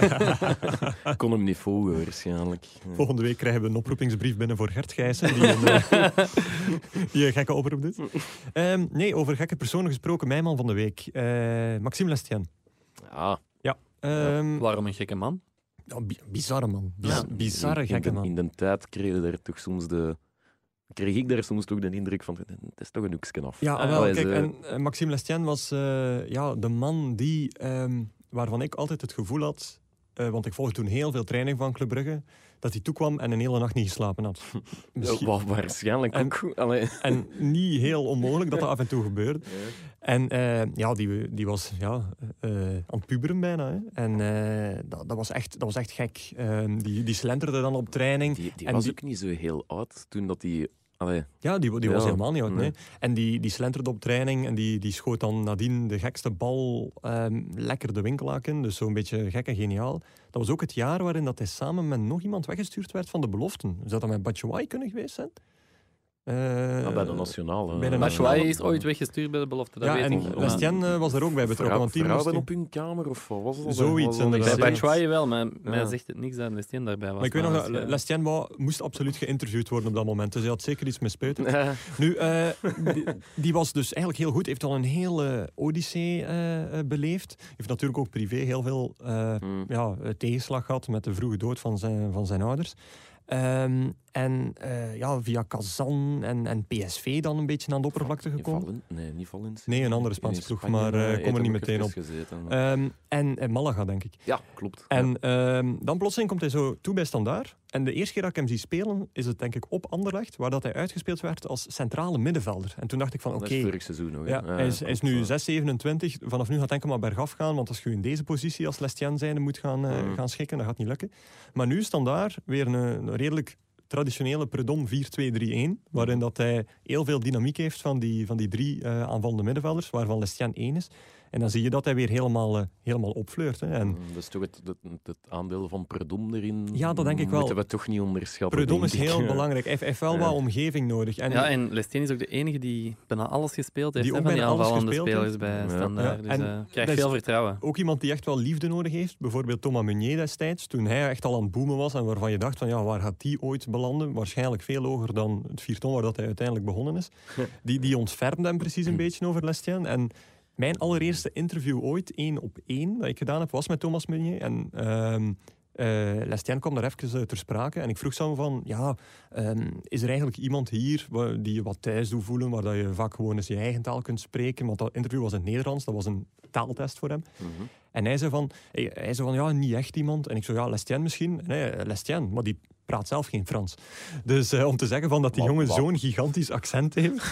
Ik kon hem niet volgen, waarschijnlijk. Ja.
Volgende week krijgen we een oproepingsbrief binnen voor Gert Gijssen, die een, eh, die een gekke oproep doet. Ehm, nee, over gekke personen gesproken, mijn man van de week, eh, Maxime Lestien.
Ah,
Ehm,
Waarom een gekke man?
ja, bi- bizarre man. Biz-
Ja.
Bizarre
in, in
gekke
de-
man.
In de tijd kreeg, je daar toch soms de, kreeg ik daar soms toch de indruk van, het is toch een hoeksken af.
Ja,
Ah,
wel,
Allee,
kijk,
ze-
en, en Maxime Lestien was eh, ja, de man die, ehm, waarvan ik altijd het gevoel had, eh, want ik volgde toen heel veel training van Club Brugge, dat hij toekwam en een hele nacht niet geslapen had. Misschien-
Wa- waarschijnlijk
En-
ook. Allee.
En niet heel onmogelijk dat dat af en toe gebeurde. En eh, ja, die, die was ja, eh, aan het puberen bijna. Hè. En eh, dat, dat, was echt, dat was echt gek. Eh, die, die slenterde dan op training.
Die, die
En
was
die- Eh,
ook niet zo heel oud toen dat die... Allee,
Ja, die, die
Ja.
was helemaal niet uit.
Nee.
Nee. En die, die slenterde op training en die, die schoot dan nadien de gekste bal ehm, lekker de winkelaak in. Dus zo'n beetje gek en geniaal. Dat was ook het jaar waarin dat hij samen met nog iemand weggestuurd werd van de beloften. Zou dat met Batshuayi kunnen geweest zijn? Eh,
ah, bij de nationale.
bij de
eh,
nationale-
Batshuayi is ooit weggestuurd bij de belofte, dat
ja,
weet
en
ik. Maar-
Lestien eh, was er ook bij betrokken.
Vrouw-
Want die
vrouwen
moest-
op hun kamer of wat was dat? dan?
Zoiets,
Was dat dan
inderdaad.
Bij
iets-
Ja.
Batshuayi wel, maar mij
Ja.
zegt het niks dat Lestien daarbij was.
Maar ik weet nog dat
Lestien.
Lestien wou- moest absoluut geïnterviewd worden op dat moment. Dus hij had zeker iets mispeut.
Ja.
Nu, eh, die, die was dus eigenlijk heel goed. Heeft al een hele odyssee eh, eh, beleefd. Heeft natuurlijk ook privé heel veel eh,
Hmm.
ja, eh, tegenslag gehad met de vroege dood van zijn, van zijn ouders. Ehm, en eh, ja, via Kazan en, en PSV dan een beetje aan de oppervlakte
In
gekomen.
Valen- nee, niet Valencia.
Nee, een andere
In
Spaanse ploeg,
Spanje,
maar, eh,
eh,
kom er
heeft
niet
ook
meteen
even gezeten. eh.
Ehm, en, en Malaga, denk ik.
ja, klopt.
En
Ja.
ehm, dan plotseling komt hij zo toe bij Standaard. En de eerste keer dat ik hem zie spelen, is het denk ik op Anderlecht, waar dat hij uitgespeeld werd als centrale middenvelder. En toen dacht ik van, oké,
Dat is vorig seizoen nog. hè.
ja, hij, is, hij is
klopt,
nu
ja.
6, 27. Vanaf nu gaat het enkel maar bergaf gaan, want als je in deze positie als Lestien zijnde moet gaan, eh,
Mhm.
gaan schikken, dat gaat niet lukken. Maar nu Standaard, weer een, een redelijk traditionele predom 4-2-3-1, waarin dat hij heel veel dynamiek heeft van die, van die drie eh aanvallende middenvelders, waarvan Lestien één is. En dan zie je dat hij weer helemaal, eh, helemaal opfleurt. Hè. En
Mm, Dat is toch het, het, het aandeel van Predom erin.
Ja, dat denk ik wel.
Moeten we toch niet onderschatten.
predom is
denk ik.
heel belangrijk. Hij heeft- hij heeft wel
Ja.
wat omgeving nodig. En,
Ja, en Lestien is ook de enige die bijna alles gespeeld heeft.
Die
hè,
ook
van die
bijna alles
aanvallende
gespeeld
spelers bij
Ja.
Standaard.
Ja,
Dus
en
eh, krijgt
dat is-
veel vertrouwen.
Ook iemand die echt wel liefde nodig heeft. Bijvoorbeeld Thomas Meunier destijds, toen hij echt al aan het boomen was en waarvan je dacht van ja, waar gaat die ooit belanden? Waarschijnlijk veel hoger dan het vierton waar dat hij uiteindelijk begonnen is. Die, die ontfermde hem precies een beetje over Lestien. En mijn allereerste interview ooit, één op één, dat ik gedaan heb, was met Thomas Meunier. En ehm eh, Lestien kwam daar even eh, ter sprake en ik vroeg zo van ja, ehm, is er eigenlijk iemand hier wa- die je wat thuis doet voelen, waar dat je vaak gewoon eens je eigen taal kunt spreken? Want dat interview was in het Nederlands, dat was een taaltest voor hem.
Mhm.
En hij zei van, hij, hij zei van ja, niet echt iemand. En ik zo, ja, Lestien misschien. En hij, Lestien, maar die praat zelf geen Frans. Dus eh, om te zeggen van dat die
Wat-
jongen
wat?
zo'n gigantisch accent heeft,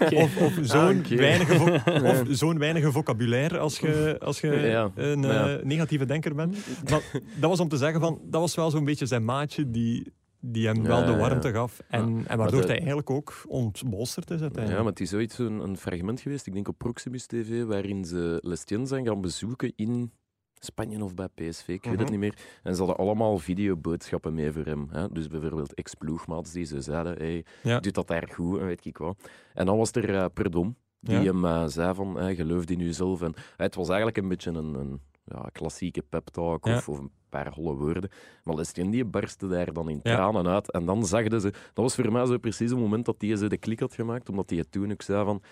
Oké.
of, of zo'n
Ah, oké.
weinige, vo- of zo'n weinige vocabulaire als je als je
Ja,
een eh,
ja.
negatieve denker bent. Maar dat was om te zeggen van, dat was wel zo'n beetje zijn maatje die, die hem wel
Ja,
de
ja,
warmte gaf. En, en waardoor
dat-
hij eigenlijk ook ontbolsterd is
Ja,
uiteindelijk.
maar het is ooit zo'n een fragment geweest, ik denk op Proximus TV, waarin ze Lestien zijn gaan bezoeken in Spanje of bij PSV, ik weet het
Mhm.
niet meer. En ze hadden allemaal videoboodschappen mee voor hem. Hè? Dus bijvoorbeeld ex-ploegmaats die ze zeiden, hey,
Ja.
doet dat daar goed en weet ik wat. En dan was er eh, Perdom, die
Ja.
hem eh, zei van, eh, geloof in jezelf. En, eh, het was eigenlijk een beetje een, een ja, klassieke pep talk
Ja.
of, of een paar holle woorden. Maar Lestien die barstte daar dan in
Ja.
tranen uit. En dan zegden ze... Dat was voor mij zo precies het moment dat die ze de klik had gemaakt, omdat die het toen ook zei van...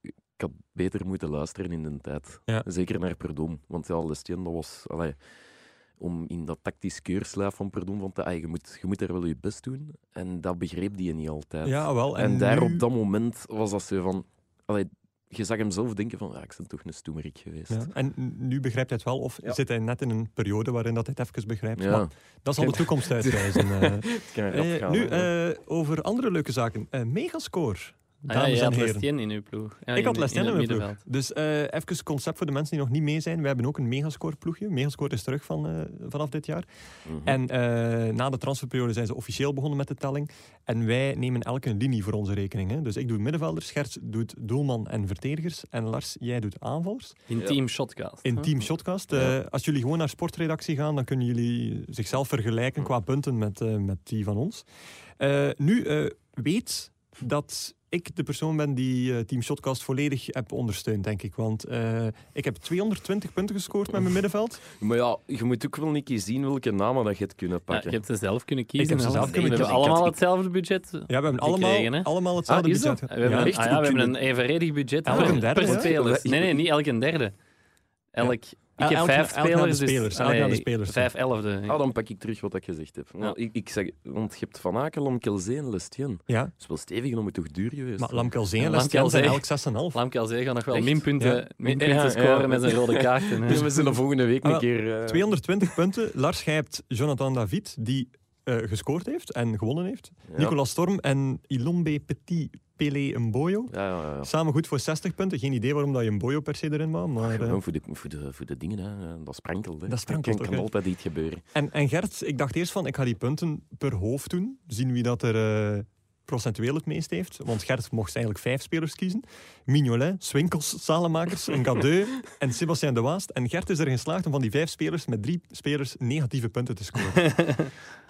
Ik had beter moeten luisteren in de tijd.
Ja.
Zeker naar Perdom. Want ja, Lestien, dat was... allee, om in dat tactisch keurslijf van Perdom van te... ah, je, moet, je moet daar wel je best doen. En dat begreep die niet altijd.
Ja, wel.
En,
En,
daar
nu-
op dat moment was dat zo van... allee, je zag hem zelf denken van, ja, ik ben toch een stoemerik geweest.
Ja, en nu begrijpt hij het wel, of
Ja.
zit hij net in een periode waarin dat hij het even begrijpt?
Ja,
Maar dat zal de toekomst uitwijzen. eh.
het kan rap
Eh,
gaan,
nu,
hè.
eh, over andere leuke zaken. Eh, megascore,
Ah, ja,
dames
je
en
had
heren.
Lestien in uw ploeg. Ja,
Ik had
in-
Lestien
in
in
het
mijn ploeg.
middenveld.
Dus eh even concept voor de mensen die nog niet mee zijn. We hebben ook een Megascore-ploegje. Megascore is terug van, eh, vanaf dit jaar.
Mhm.
En eh, na de transferperiode zijn ze officieel begonnen met de telling. En wij nemen elke een linie voor onze rekening. Hè. Dus ik doe middenvelders, Gerts doet doelman en verdedigers. En Lars, jij doet aanvallers.
In
Ja.
Team Shotcast.
In
hè?
Team Shotcast. eh,
Ja.
als jullie gewoon naar sportredactie gaan, dan kunnen jullie zichzelf vergelijken qua punten met, eh, met die van ons. Eh, nu eh, weet dat ik de persoon ben die eh, Team Shotcast volledig heb ondersteund, denk ik. Want eh, ik heb 220 punten gescoord met mijn middenveld.
Maar ja, je moet ook wel een keer zien welke namen dat je hebt kunnen
Ja,
pakken.
je hebt ze zelf kunnen kiezen.
Ik heb ze
hè,
zelf
want
kunnen
We hebben
kiezen.
allemaal
Ik
hetzelfde budget. We
Ja, we hebben allemaal,
Gekregen, hè?
allemaal hetzelfde
Ah, is dat?
budget.
hebben,
Ja.
een,
echt
ah, ja, we
goed
hebben een evenredig budget
Elk
per-
een derde,
per
hè?
speler.
Ja.
Nee, nee, niet elk een derde. Elk, Ik
Ah,
heb
elk-
vijf
elk naar de
spelers. dus-
spelers, elk
allee,
naar de spelers.
Vijf elfde.
Ah, dan pak ik terug wat ik gezegd heb. Nou, ik, ik zeg, want je hebt Van Akelom, Kelzee en Lestien. Dat
Ja,
is wel stevig en om het toch duur geweest.
maar Lamkelzee
Ja,
en Lestien zijn elk
Lamkelzee.
6,5.
Lamke Alzee gaat nog wel
Echt?
minpunten,
Ja.
minpunten
Ja, ja.
scoren met zijn rode kaarten. hè.
Dus we zullen volgende week
Ah,
een keer... eh,
220 punten. Lars, jij hebt Jonathan David, die eh, gescoord heeft en gewonnen heeft.
ja.
Nicolas Storm en Ilombe Petit Pele Mboyo.
Ja, ja, ja.
Samen goed voor 60 punten. Geen idee waarom dat je Mboyo per se erin wou. Maar, eh,
Gewoon voor de, voor, de, voor de dingen, hè. Eh, dat sprankelt. Hè.
Dat sprankelt
Er kan,
ook,
kan
hè.
altijd iets gebeuren.
en, en Gert, ik dacht eerst van, ik ga die punten per hoofd doen. Zien wie dat er eh, procentueel het meest heeft. Want Gert mocht eigenlijk vijf spelers kiezen. Mignolet, Swinkels, Salemakers, Ngadeu en Sebastien de Waast. En Gert is er geslaagd om van die vijf spelers met drie spelers negatieve punten te scoren.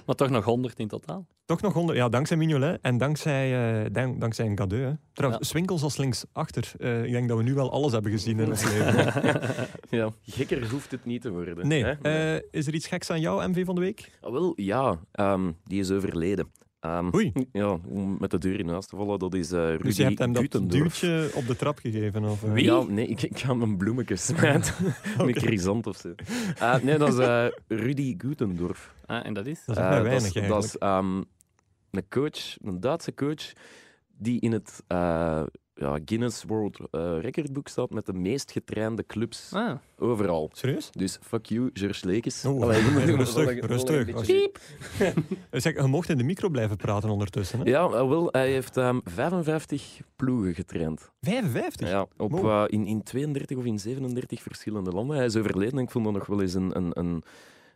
maar toch nog 100 in totaal.
Toch nog onder, ja, dankzij Mignolet en dankzij, eh dank, dankzij een cadeau. Hè. Trouwens, Swinkels als linksachter. Eh ik denk dat we nu wel alles hebben gezien in ons leven.
Ja. Gekker hoeft het niet te worden.
Nee,
hè.
eh, is er iets geks aan jou, MV van de week?
Ah, wel, ja. ehm, die is overleden. Ehm,
Oei.
Ja, om met de deur in huis te vallen, dat is eh Rudy
Dus je hebt hem dat
Gutendorf.
duwtje op de trap gegeven? Of, eh?
Ja, nee, ik, ik ga hem een bloemetje smijten. Een chrysant of zo. Eh, nee, dat is eh, Rudy Gutendorf.
Ah, en dat is?
Dat is
Eh,
echt maar weinig
dat is, dat is, ehm, een coach, een Duitse coach, die in het eh, ja, Guinness World eh, Recordboek staat met de meest getrainde clubs
Ah,
overal.
Serieus?
Dus fuck you, George Lekes.
Oh,
Allee, je moet-
rustig,
een
rustig.
beetje-
Piep. Eh, Zeg, je mocht in de micro blijven praten ondertussen. Hè?
Ja, eh, wel, hij heeft ehm, 55 ploegen getraind.
55?
Ja, op,
Wow.
eh, in, in 32 of in 37 verschillende landen. Hij is overleden en ik vond dat nog wel eens een, een, een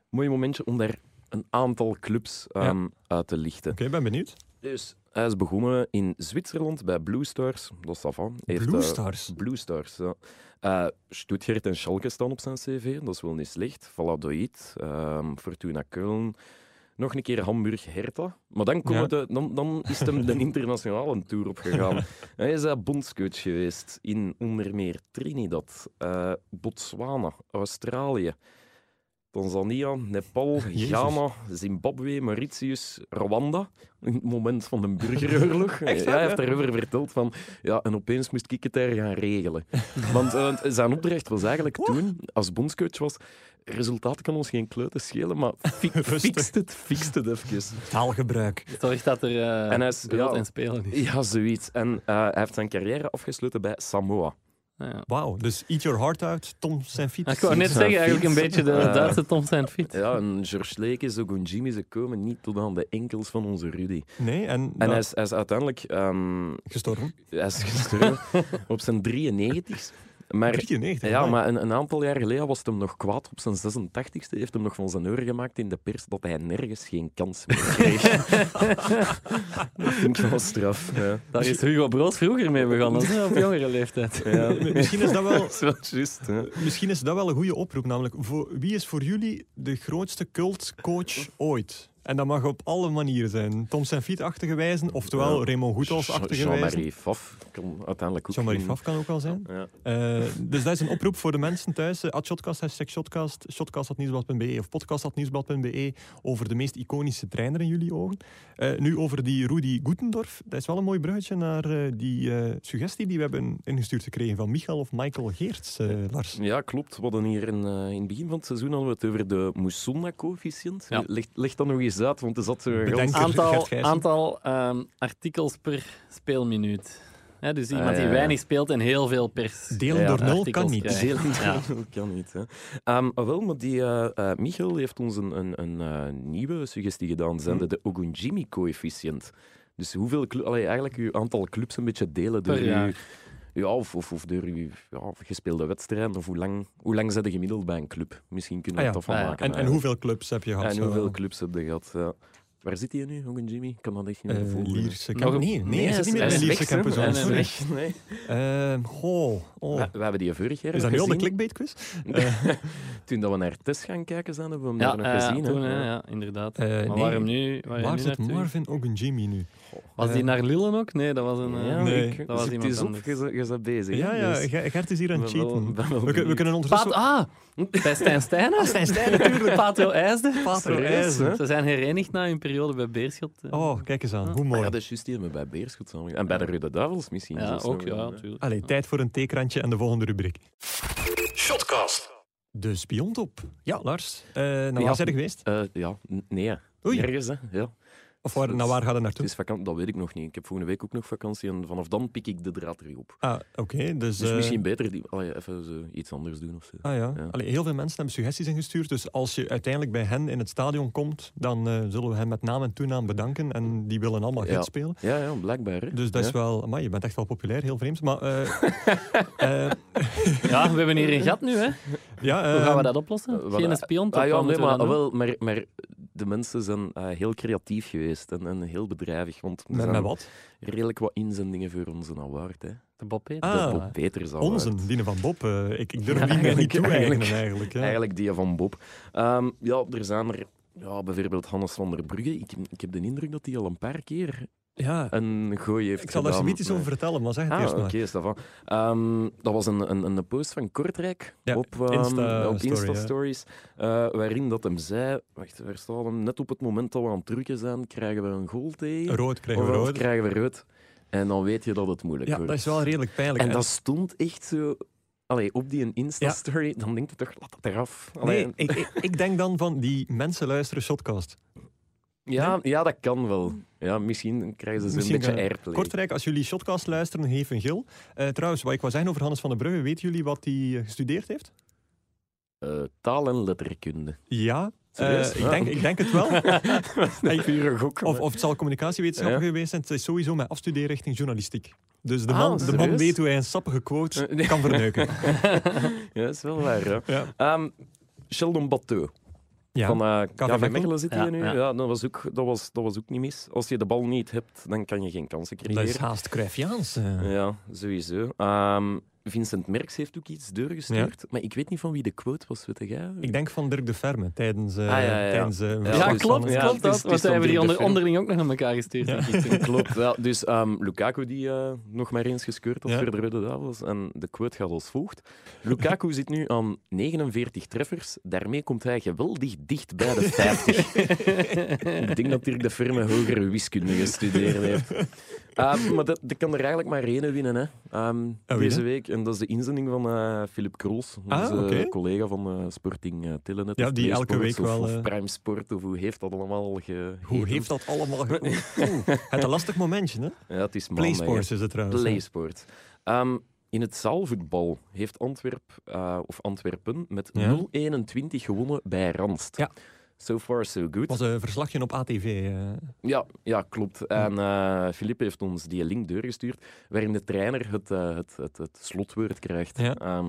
mooi momentje om daar een aantal clubs ehm, uit te lichten.
Oké, ik ben benieuwd.
Dus hij is begonnen in Zwitserland bij Blue Stars. Dat is af.
Blue Stars.
Blue Stars, ja. Eh, Stuttgart en Schalke staan op zijn cv, dat is wel niet slecht. Valladolid, ehm, Fortuna Köln, nog een keer Hamburg, Hertha. Maar dan, komen
Ja.
de, dan, dan is hem de internationale tour opgegaan. Hij is eh, bondscoach geweest in onder meer Trinidad, eh, Botswana, Australië, Tanzania, Nepal,
Jezus.
Ghana, Zimbabwe, Mauritius, Rwanda. In het moment van de burgeroorlog.
Echt waar,
Hij
ja?
heeft daarover verteld van ja, en opeens moest ik het daar gaan regelen. Want eh, zijn opdracht was eigenlijk toen, als bondscoach was, resultaat kan ons geen kleuten schelen, maar fi
Rustig.
fixt het, fixt het even.
Taalgebruik.
Zorg dat er eh
En
en
hij is- ja.
en spelen is.
Ja, zoiets. En eh, hij heeft zijn carrière afgesloten bij Samoa.
Ah, Ja.
Wauw, dus eat your heart out, Tom zijn fiets.
Ik wou net
zijn
zeggen, eigenlijk een
fiets.
beetje de
Eh.
Duitse Tom zijn fiets.
Ja, en George Lekes, Ogunjimi, ze komen niet tot aan de enkels van onze Rudy.
Nee, en,
En
dat-
hij is, hij is uiteindelijk ehm,
gestorven.
hij is gestorven op zijn 93 Maar
93.
Ja,
amai.
maar een, een aantal jaar geleden was het hem nog kwaad op zijn 86e. Heeft hem nog van zijn oren gemaakt in de pers dat hij nergens geen kans meer kreeg. dat vind ik wel straf. Ja.
Daar is Hugo Broos vroeger mee begonnen, hè, op jongere leeftijd.
M- Eh, Misschien is dat wel...
Dat is wel juist. hè.
Misschien is dat wel een goede oproep, namelijk voor, wie is voor jullie de grootste cultcoach ooit? En dat mag op alle manieren zijn. Tom Saint-Fiet-achtige wijzen, oftewel
Ja.
Raymond Goethals-achtige
Jean-
wijzen.
Jean-Marie Faf kan uiteindelijk ook...
Jean-Marie
geen-
Faf kan ook wel zijn.
Ja.
Eh, dus dat is een oproep voor de mensen thuis. Eh, At shotcast, hashtag shotcast, shotcast.nieuwsblad.be of podcast.nieuwsblad.be over de meest iconische trainer in jullie ogen. Eh, nu over die Rudy Goetendorf. Dat is wel een mooi bruggetje naar eh, die eh, suggestie die we hebben ingestuurd gekregen van Michael of Michael Geerts, eh, Lars.
Ja, klopt. We hadden hier in, eh, in het begin van het seizoen hadden we het over de Moussonna-coëfficiënt.
Ja.
Leg, leg dat nog eens uit, want er zat zo...
Bedenk Gert-
gans-
Gert
Aantal,
Gijssen.
aantal ehm, artikels per speelminuut. Hè, dus iemand
Ah, ja,
die
ja.
weinig speelt en heel veel pers.
Delen
Ja,
door nul
artikels
kan niet.
krijgen.
Zeer niet.
Ja.
Dat kan niet. Hè. Ehm, ah, wel, maar die eh, eh, Michael heeft ons een, een, een eh, nieuwe suggestie
Hm.
gedaan, zijnde de Ogunjimi-coëfficiënt. Dus hoeveel clu- allee, eigenlijk uw aantal clubs een beetje delen door
Per
uw,
jaar.
ja, of, of, of door uw ja, gespeelde wedstrijden, of hoe lang, hoe lang zit je gemiddeld bij een club? Misschien kunnen we
Ah,
het
ja.
daarvan
Ah, ja.
maken.
En, en
eigenlijk.
hoeveel clubs eh? heb je gehad?
Eh, En hoeveel clubs heb je gehad? ja. Waar zit hij nu, Ogunjimi? Ik kan dat echt niet meer
Eh,
volgen.
Lierse
Nog
Kempen.
een-
Nee, nee, hij
hij
zit niet meer
hij
in
is
Lierse
weg, eh, hè.
Kempen.
Nee,
Sorry.
nee,
sorry.
Hij is weg, nee.
Eh, goh, oh.
We, we hebben die vorig jaar
Is dat heel de
gezien. Eh,
clickbait-quiz?
Toen dat we naar Tess gaan kijken zijn, hebben we hem daar
Ja,
nog
eh,
gezien. hè.
toen, hè,
Ja.
ja, inderdaad.
Eh,
maar
nee.
waarom nu? Waar,
Waar
nu
zit
naartoe?
Marvin Ogunjimi nu?
Was die
Eh,
naar Lillen ook? Nee, dat was een... eh,
Ja,
Nee.
ik-
Dat was
zoek
iemand
het eens op,
anders.
je bent- je bent bezig.
Ja,
hè,
ja,
dus-
Ger- Gert is hier aan het
Ik ben wel-
cheaten.
ben wel
We, kun- we
benieuwd.
kunnen
Paat,
ondertussen...
ah! Bij Stijn Stijnen?
Ah, Stijn Stijn natuurlijk.
Patro IJsden?
Patro
IJsden, hè?
Ze zijn herenigd na hun periode bij Beerschot. eh.
Oh, kijk eens aan. Hoe
Ah,
mooi.
ja, dat is juist die hebben we bij Beerschot samen. En bij de Rode Duivels misschien.
ja,
zelfs
ook,
nog
ja,
wel, hè.
natuurlijk.
Allee, tijd voor een theekrantje en de volgende rubriek. Shotcast. De spiontop. Ja, Lars. eh naar
Ja.
waar zijn er geweest?
Eh, ja, n- nee. hè.
Oei.
Nergens, hè. Ja.
Of waar,
Het-
naar waar gaat het
Het
naartoe?
is vakantie, dat weet ik nog niet. Ik heb volgende week ook nog vakantie en vanaf dan pik ik de draad weer op.
Ah, oké. dus
Dus
eh,
misschien beter die, allee, even zo iets anders doen of zo.
Ah ja.
Ja.
Allee, heel veel mensen hebben suggesties ingestuurd. Dus als je uiteindelijk bij hen in het stadion komt, dan eh, zullen we hen met naam en toenaam bedanken. En die willen allemaal
Ja.
gids spelen.
Ja, ja, blijkbaar. hè.
Dus dat is
Ja.
wel... Amai, je bent echt wel populair, heel vreemd. Maar eh, eh,
Ja, we hebben hier een gat nu, hè.
ja,
Hoe gaan we
eh,
dat
Eh,
oplossen?
wat-
Geen spion, toch?
Ah, ja,
Wat
nee,
moeten we
maar,
dan doen?
wel, maar, maar de mensen zijn eh, heel creatief geweest en, en heel bedrijvig. Want er
met,
zijn
met wat?
redelijk wat inzendingen voor onze award. Hè.
De Bob Peter.
Ah.
De Bob Peters award.
Onze, Dine van Bob. eh, ik, ik durf die
Ja,
mij niet
eigenlijk-
toe
eigenlijk-
eigenlijk. eigenlijk, ja.
Eigenlijk die van Bob. Ehm, ja, er zijn er ja, bijvoorbeeld Hannes van der Brugge. Ik, ik heb de indruk dat hij al een paar keer
Ja,
een gooi heeft
ik zal daar
gedaan.
zoiets iets over vertellen, maar zeg het
Ah,
eerst
oké,
maar.
Stefan. Ehm, dat was een, een, een post van Kortrijk
Ja,
op, ehm,
Insta
op
story, ja.
Insta-stories, eh, waarin dat hem zei... Wacht, waar staat hem? Net op het moment dat we aan het drukken zijn, krijgen we een goal tegen.
Rood krijgen we
of anders
rood.
krijgen we rood. En dan weet je dat het moeilijk
Ja,
wordt.
dat is wel redelijk pijnlijk.
En dat stond echt zo... Allee, op die Insta-story, dan denk je toch, laat dat eraf. Allee,
Nee, ik, ik, ik denk dan van die mensen luisteren Shotcast.
ja, ja, dat kan wel. Ja, misschien krijgen ze zo'n
Misschien eh,
beetje
kan-
airplay.
Kortrijk, als jullie Shotcast luisteren, geef een gil. Eh, trouwens, wat ik wou zeggen over Hannes van der Brugge, weten jullie wat hij eh, gestudeerd heeft?
Eh, taal- en letterkunde.
Ja,
Serieus?
eh,
Ja.
ik, denk, ik denk het wel. Ik-
Pure gok.
Ah, of, of het zal communicatiewetenschappen
Ja.
geweest zijn. Het is sowieso mijn afstuderen richting journalistiek. Dus de
Ah,
man, de man
serieus?
weet hoe hij een sappige quote
Eh, nee.
kan verneuken.
ja, dat is wel waar. hè.
Ja.
Ehm, Sheldon Bateau.
Ja.
van eh KV
Mechelen.
Mechelen zit hier
Ja,
nu.
ja.
Ja. dat, was ook, dat, was, dat was ook niet mis. Als je de bal niet hebt, dan kan je geen kansen
Dat is
creëren.
haast Cruyffiaans. eh.
Ja, sowieso. Ehm, Vincent Merks heeft ook iets doorgestuurd, maar ik weet niet van wie de quote was, weet jij?
Ik denk van Dirk de Ferme tijdens... eh,
Ah, ja, ja.
tijdens eh, een
Ja,
Ja,
verslag
klopt,
van-
ja,
klopt
het is-
dat.
het is
Want zij hebben die
natuurlijk
onder,
de film.
onderling ook nog aan elkaar gestuurd. denk ik.
Klopt, ja. Dus ehm, Lukaku die eh, nog maar eens gescoord had
Ja.
voor de Rode Duivels. En de quote gaat als volgt. Lukaku zit nu aan 49 treffers. Daarmee komt hij geweldig dicht bij de 50. Ik denk dat Dirk de Firme hogere wiskunde gestudeerd heeft. Ehm, maar dat, dat kan er eigenlijk maar één winnen, hè. Ehm,
wie
deze
dan?
week. En dat is de inzending van eh Philip Krols.
Ah,
Onze
oké.
collega van eh, Sporting eh, Telenet.
Ja,
of
die elke
PlaySports
week
of-
wel,
Of,
eh,
Prime Sport, of hoe heeft dat allemaal ge...
Hoe heeft dat allemaal... ge- Oeh, Het een lastig momentje, hè?
Ja, het is maandag, hè.
PlaySports is het trouwens.
PlaySport. Ehm, in het zaalvoetbal heeft Antwerp, eh, of Antwerpen met
Ja.
0-21 gewonnen bij Randst.
Ja.
So far, so good.
Het was een verslagje op ATV. eh.
Ja, ja, klopt.
Hm.
En eh Philippe heeft ons die link doorgestuurd, waarin de trainer het, eh, het, het, het slotwoord krijgt.
Ja.
Ehm,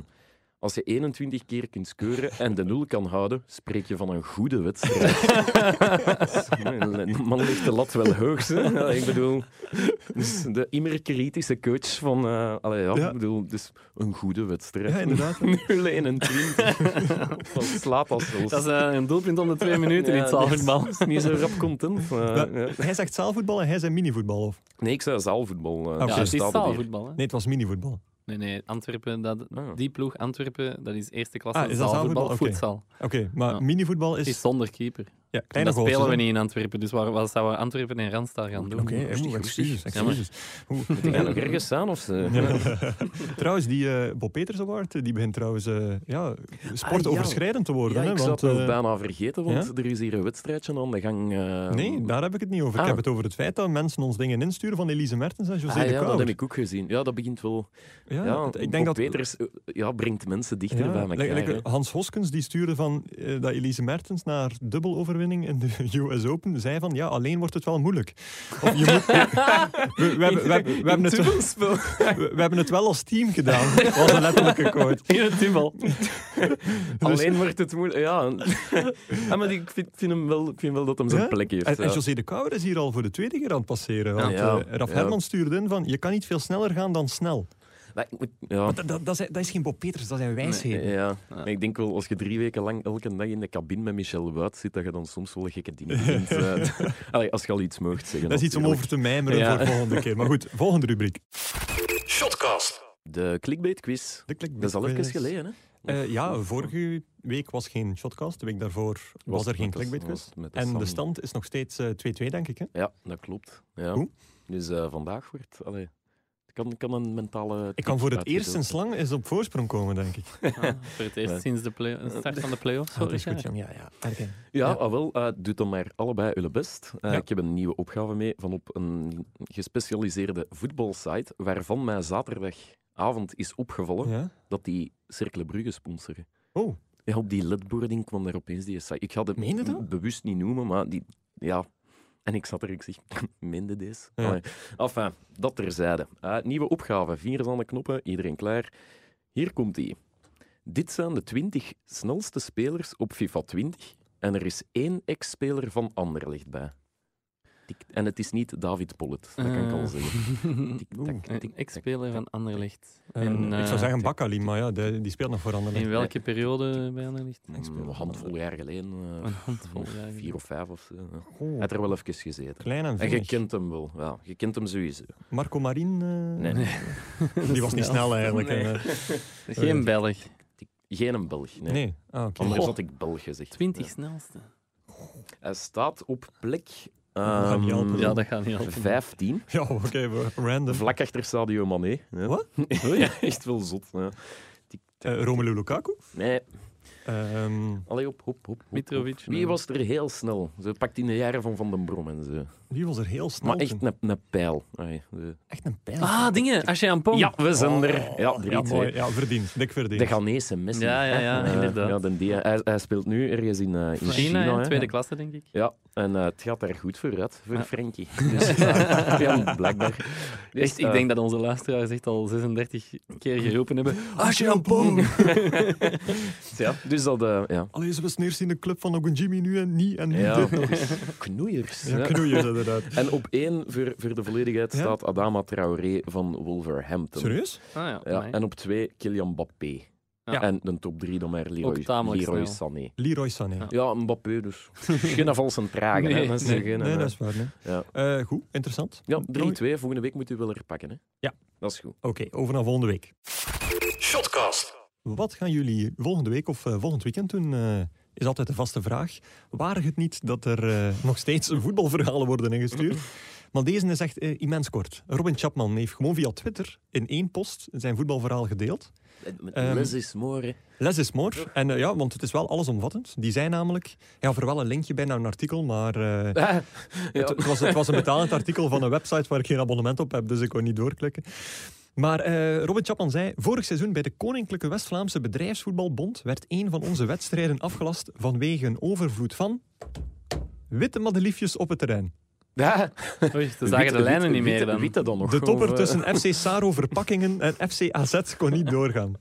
als je 21 keer kunt scoren en de nul kan houden, spreek je van een goede wedstrijd. de man ligt de lat wel hoog. hè. Ja, ik bedoel, dus de immer kritische coach van... eh allee, ja,
Ja.
Ik bedoel, dus een goede wedstrijd.
Ja, inderdaad.
0-21. Wat slaat als
Dat is eh, een doelpunt om de twee minuten in het zaalvoetbal.
is niet zo rap content. maar,
Maar-
eh, ja.
Hij zegt zaalvoetbal en hij zei minivoetbal. Of...
Nee, ik zei zaalvoetbal. eh,
Ja,
Ja, het is
staat er hier.
zaalvoetbal. hè.
Nee, het was minivoetbal.
Nee, nee, Antwerpen, dat,
Ah.
die ploeg Antwerpen, dat is eerste klasse
Ah, is dat
zaalvoetbal,
zaalvoetbal? Oké.
voetbal.
Oké, maar
Ja.
minivoetbal
Het
is...
is zonder keeper.
ja,
En
kleine
dat
goaltjes,
spelen we
hè?
niet in Antwerpen, dus waar, wat zouden Antwerpen en Randstad gaan doen?
Oké,
Rustig,
oeh,
rustig.
excuses,
Ja, maar-
excuses. Oeh.
Moet jij nog ergens aan of ze?
Trouwens, die eh, Bob Peters Award, eh, die begint trouwens eh, ja, sportoverschrijdend te worden.
Ja,
hè,
ik zou
want,
het wel
eh,
bijna vergeten, want
ja?
er is hier een wedstrijdje aan de gang. eh,
nee, daar heb ik het niet over.
Ah.
Ik heb het over het feit dat mensen ons dingen insturen van Elise Mertens en José
Ah,
de
ja, dat
Kouwer.
heb ik ook gezien. Ja, dat begint wel.
Ja,
Ja,
het- ik denk dat...
Peters eh, ja, brengt mensen
ja,
dichter bij elkaar.
like- like
hè.
Hans Hoskens die stuurde van eh, dat Elise Mertens na haar dubbeloverwinning in de US Open zei van ja, alleen wordt het wel moeilijk. Of je moet, we, we hebben- we hebben- we hebben het, we,
dubbelspel.
we hebben het wel als team gedaan, was een letterlijke quote.
In het dubbel.
Dus-
Alleen wordt het moeilijk. Ja, Ah, maar ik vind, vind hem wel, ik vind wel dat hem zijn
Ja?
plek heeft.
En, en
ja.
José de Kouwer is hier al voor de tweede keer aan het passeren. Want,
Ja.
eh, Raf
Ja.
Herman stuurde in van, je kan niet veel sneller gaan dan snel.
Maar ik moet- ja.
Want dat, dat, dat is, dat is geen Bob Peters, dat zijn wijsheden.
Ja, maar ik denk wel, als je drie weken lang elke dag in de cabine met Michel Wout zit, dat je dan soms wel gekke dingen vindt. eh. Allee, als je al iets mocht zeggen.
Dat is iets om
natuurlijk.
over te mijmeren
Ja.
voor de volgende keer. Maar goed, volgende rubriek.
De clickbait quiz.
De klik-
Dat is al even geleden, hè?
Eh, ja, vorige week was geen shotcast. De week daarvoor was, er geen
dus
clickbait quiz. En de
stand.
stand is nog steeds eh, 2-2, denk ik. Hè?
Ja, dat klopt. Ja.
Hoe?
Dus eh, vandaag wordt... Allee, ik kan, ik kan een mentale...
Ik kan voor het
tip
eerst sinds
uitgeven.
lang eens op voorsprong komen, denk ik.
Ah, voor het eerst
Nee.
sinds de play- start van de play-offs.
dat is
vorig
goed,
jaar.
Jan. Ja, ja. Erken.
Ja,
Ja.
ah, wel. eh, doe dan maar allebei jullie best. Eh,
Ja.
Ik heb een nieuwe opgave mee van op een gespecialiseerde voetbalsite, waarvan mij zaterdagavond is opgevallen
Ja?
dat die Cercle Brugge sponsoren.
Oh.
Ja, op die ledboarding kwam daar opeens die site. Ik ga het
Meen je dat?
bewust niet noemen, maar die... Ja. En ik zat er, ik zeg, minder deze.
Ja.
Allee. Enfin, dat terzijde. Eh, nieuwe opgave, vingers aan de knoppen, iedereen klaar. Hier komt die. Dit zijn de 20 snelste spelers op FIFA 20. En er is één ex-speler van Anderlecht bij. Tik- En het is niet David Pollet, dat kan ik al
Eh.
zeggen. Tik, tak, tik,
Een
tak.
ex-speler van Anderlecht.
Eh,
En,
ik
eh,
zou zeggen Bakali, maar ja, de- die speelt nog voor Anderlecht.
In welke periode bij Anderlecht?
Een handvol jaar geleden, eh,
Een handvol
Nog
jaar
Vier
geleden.
of vijf of zo. ja. Hij
Oh,
had er wel even gezeten.
Klein en
En je
vinnig.
kent hem wel. Ja, je kent hem sowieso.
Marco Marin, eh,
Nee, nee.
die was niet snel eigenlijk.
Nee.
en, eh,
Geen Belg.
Geen een Belg. Nee.
nee, ah, oké.
Anders
Goh.
had ik Belg gezegd.
20 snelste.
Hij staat op plek
gaat niet helpen.
ehm
Ja, dat gaat niet helpen.
15.
Ja, oké, we- random.
Vlak achter Sadio Mané. Ja.
Wat?
Oh
ja, echt wel zot. Ja.
Eh, Romelu Lukaku.
Nee,
Ehm,
allee, op, hop, hop.
Mitrovic.
Wie was er heel snel? Ze pakt in de jaren van Van den Brom en zo.
die was er heel snel.
Maar
toen.
echt een, een pijl. Allee, de-
Echt een pijl.
Ah, dingen. Als je aan Pong. Oh.
Ja, we zijn er. Ja,
ja,
3-2.
Oh, mooi. Ja, verdiend. Dik verdiend.
De Ghanese Messi.
Ja, ja, ja,
hè? Eh,
inderdaad.
Ja, dan die, hij, hij speelt nu ergens in, eh, in China.
China,
hè?
ja, tweede klasse, denk ik.
Ja, en eh, het gaat daar goed voor uit, voor
Ja.
Frenkie. Dus, ja, ja, blijkbaar. Dus,
Echt, ik
eh,
denk dat onze luisteraars echt al 36 keer geroepen hebben.
Ah, shampoo!
ja, Dus dat, eh, ja.
Allee, ze was eerst in de club van Ogunjimi nu en niet en nu
ja.
dit nog eens.
Knoeiers.
Ja,
hè.
knoeiers inderdaad.
En op één, voor, voor de volledigheid,
Ja.
staat Adama Traoré van Wolverhampton.
Serieus?
Ah, ja,
Ja,
nee.
en op twee, Kylian Mbappé.
Ja.
En een top drie dan maar
Ook
Leroy,
tamelijk
Leroy
snel.
Sané.
Leroy Sané.
Ja.
Ja, Mbappé dus. geen valse pragen. hè.
Nee,
Dat is
Nee,
geen,
nee,
eh,
dat is waar. nee.
Ja.
Eh, goed, interessant.
Ja,
Mooi.
3-2. Volgende week moet u wel herpakken. Hè?
Ja.
Dat is goed.
Oké, over naar volgende week. Shotcast. Wat gaan jullie volgende week of eh, volgend weekend doen? eh, is altijd de vaste vraag. Waar het niet dat er eh, nog steeds voetbalverhalen worden ingestuurd? Maar deze is echt eh, immens kort. Robin Chapman heeft gewoon via Twitter in één post zijn voetbalverhaal gedeeld. Ehm,
Les is more.
Les is more. En eh, ja, want het is wel allesomvattend. Die zei namelijk... Ja, voor wel een linkje bij naar een artikel, maar... eh,
Ja.
het, het was, het was een betalend artikel van een website waar ik geen abonnement op heb, dus ik kon niet doorklikken. Maar eh Robin Chapman zei, vorig seizoen bij de Koninklijke West-Vlaamse Bedrijfsvoetbalbond werd een van onze wedstrijden afgelast vanwege een overvloed van witte madeliefjes op het terrein.
Ja.
Oei, ze
Witte-
zagen de lijnen niet
witte-
meer dan.
Witte dan nog.
De topper
Of, eh,
tussen FC Saro Verpakkingen en FC AZ kon niet doorgaan.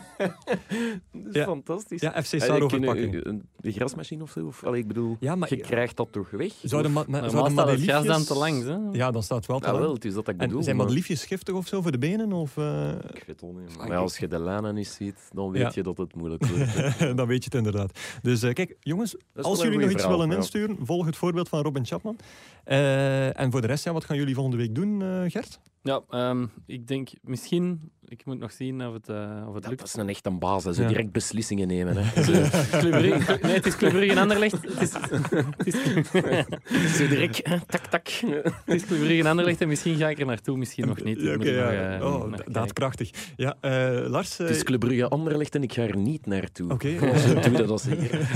dat is
Ja.
Fantastisch.
Ja, FC
Allee,
Saro
kunnen-
Verpakkingen.
eh, De grasmachine of zo? Of, allee, ik bedoel,
Ja, maar
je krijgt dat toch weg?
zouden, ma ma-
Normaal
zouden
staat het gas
madeliefjes...
dan te lang. Hè?
Ja, dan staat het wel te
Ja,
lang.
Ah, wel, het is dat dat ik bedoel.
en zijn
maar-
madeliefjes giftig of zo voor de benen? Of, eh,
Ik weet het niet. Maar als je de lijnen niet ziet, dan weet
Ja.
je dat het moeilijk wordt. hè.
dan weet je het inderdaad. Dus eh, kijk, jongens,
Dat is
Als
wel
jullie
een
nog
goeie
iets
verhaal,
willen
ja.
insturen, volg het voorbeeld van Robin Chapman. Eh, en voor de rest, ja, wat gaan jullie volgende week doen, eh, Gert?
Ja, ehm, ik denk misschien, ik moet nog zien of het, eh, of het
Dat,
lukt.
dat is een echte baas, hè. zo
Ja.
direct beslissingen nemen. Hè. Zo,
Club Brugge- nee, het is Club Brugge en Anderlecht. Het is, het is,
zo direct, hè, tak, tak. Ja,
het is Club Brugge en Anderlecht en misschien ga ik er naartoe, misschien nog niet.
Ja,
Moet
oké,
ik nog,
ja.
eh, nog
oh, da-
kijken.
daadkrachtig. Ja, eh, Lars? eh,
Het is Club Brugge Anderlecht en ik ga er niet naartoe.
Oké.
Zo doe dat als hier.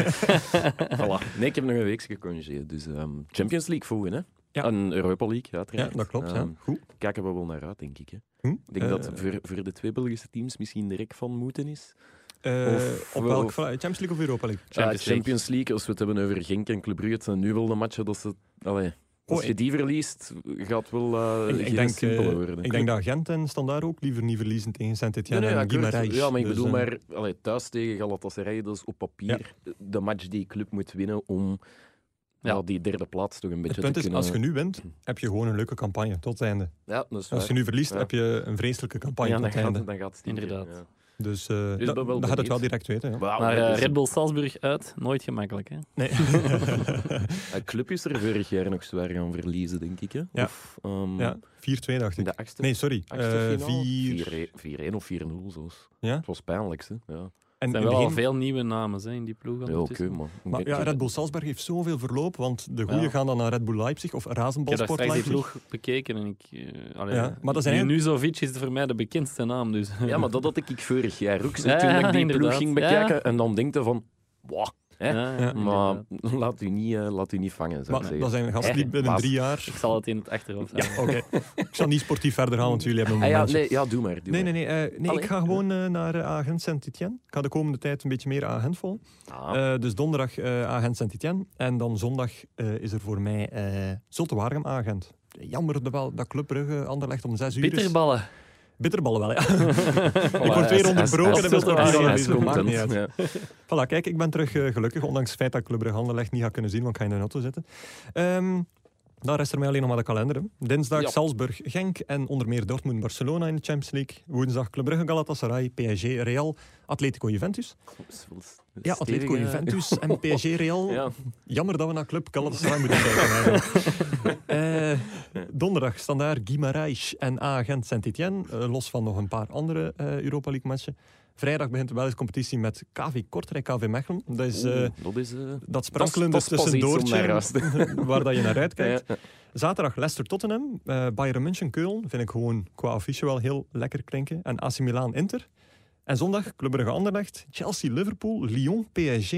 voilà. Nee, ik heb nog een week gecongeerd. Dus ehm, Champions League volgen, hè?
Ja.
En Europa League,
ja,
ja, uiteraard.
dat klopt.
Ehm,
ja. Goed.
Kijken we wel naar uit, denk ik. Hè.
Hm?
Ik denk dat
Eh,
voor, voor de twee Belgische teams misschien direct van moeten is.
eh,
of-
op welk
of-
vlak? Champions League of Europa League?
Champions,
Champions
Ah,
League.
Champions League, als we het hebben over Genk en Club Brugge, het zijn nu wel de matchen dat ze... Allee, als
Oh,
je die verliest, gaat wel eh
Ik- ik
geen
denk, eh,
simpele worden.
Ik denk dat Gent en Standaard ook liever niet verliezen tegen Saint-Etienne
Nee, nee,
en
akkoord.
Guimarães.
Ja, maar ik
Dus,
bedoel
eh,
maar allee, thuis tegen Galatasaray, dat is op papier de match die je club moet winnen om
Ja.
ja, die derde plaats toch een
Het
beetje
punt
te
is,
kunnen...
als je nu wint, heb je gewoon een leuke campagne tot het einde.
Ja, dat is
Als je
waar.
nu verliest,
Ja.
heb je een vreselijke campagne
Ja,
tot
dan
het
gaat,
einde.
het- dan gaat het stinken,
Inderdadaad.
ja.
Dus, eh
ben
dat-
wel
dan gaat het wel
benieuwd.
direct weten. Ja.
Wauw, dus-
Maar
dat
eh,
is-
Red Bull Salzburg uit, nooit gemakkelijk. Hè?
Nee.
Een club is er vorig jaar nog zwaar gaan verliezen, denk ik. Hè?
Ja.
Of, ehm,
Ja, 4-2 dacht ik.
in de achtste,
Nee, sorry.
achtste
Eh,
finale?
vier...
4-1 of 4-0, zoals.
Ja?
Het was pijnlijk, hè. Ja,
En
Er zijn
in
wel
het
al
begin-
veel nieuwe namen hè, in die ploeg.
ja oké,
ondertussen.
maar...
Maar ja, Red Bull Salzburg heeft zoveel verloop, want de goeie
Ja.
gaan dan naar Red Bull Leipzig of
Ik heb
Razenball
daar
Sport
straks die
Leipzig.
ploeg bekeken en ik... eh allee,
Ja, maar dat zijn eigenlijk-
Junuzovic is voor mij de bekendste naam, dus...
Ja, maar dat had ik vorig jaar ook. zo.
Ja,
toen ik die ploeg
inderdaad.
ging
Ja.
bekijken en dan denkte van... Wow, hè?
Ja,
Ja.
Maar
inderdaad.
laat u niet, eh, laat u niet vangen, zou ik
Maar
zeggen.
dat zijn gasten die
Echt,
binnen
baas.
drie jaar...
Ik zal het in het achterhoofd houden.
Ja, oké. Ik zal niet sportief verder gaan, want jullie hebben een
Ah, ja,
momentje.
nee, ja, doe maar. Doe
Nee,
maar.
nee, nee. eh, nee ik
Allee.
ga gewoon eh, naar eh, Agent Saint-Etienne. Ik ga de komende tijd een beetje meer Agent volgen.
Ah,
Eh, dus donderdag eh, Agent Saint-Etienne. En dan zondag eh, is er voor mij eh Zulte Waregem Agent. Jammer dat wel dat Club Brugge Anderlecht om zes uur is.
Bitterballen.
Bitterballen wel, ja.
voilà,
word weer
hij- hij-
onderbroken
hij-
en
hij-
we
stoppen hier
hij-
al
hij
bezig.
komt
Maakt
dan.
niet uit.
Ja.
Voilà, kijk, ik ben terug eh, gelukkig, ondanks het feit dat ik Club Brugge Anderlecht niet ga kunnen zien, want ik ga in de auto zitten. Ehm daar rest er mij alleen nog maar de kalender. hè. Dinsdag
Ja.
Salzburg, Genk en onder meer Dortmund, Barcelona in de Champions League. Woensdag Club Brugge, Galatasaray, PSG, Real, Atletico Juventus.
Dat is wel s-
Ja, Atletico
stevig, eh.
Juventus en PSG Real.
Ja.
Jammer dat we naar Club Galatasaray moeten kijken. eigenlijk. Eh, donderdag standaard Guimarães en A-agent Saint-Etienne. eh, los van nog een paar andere eh, Europa League matchen. Vrijdag begint de Belgische competitie met KV Kortrijk, KV Mechelen. Dat is... eh,
Oeh, dat is... eh,
dat
dat is-
sprankelende
dat is pas iets om naar
tussendoortje
uit te-
waar dat je naar uitkijkt.
Ja.
Zaterdag Leicester-Tottenham, eh, Bayern München-Keulen. Vind ik gewoon qua affiche wel heel lekker klinken. En AC Milan-Inter. En zondag Club Brugge Anderlecht, Chelsea-Liverpool, Lyon-PSG,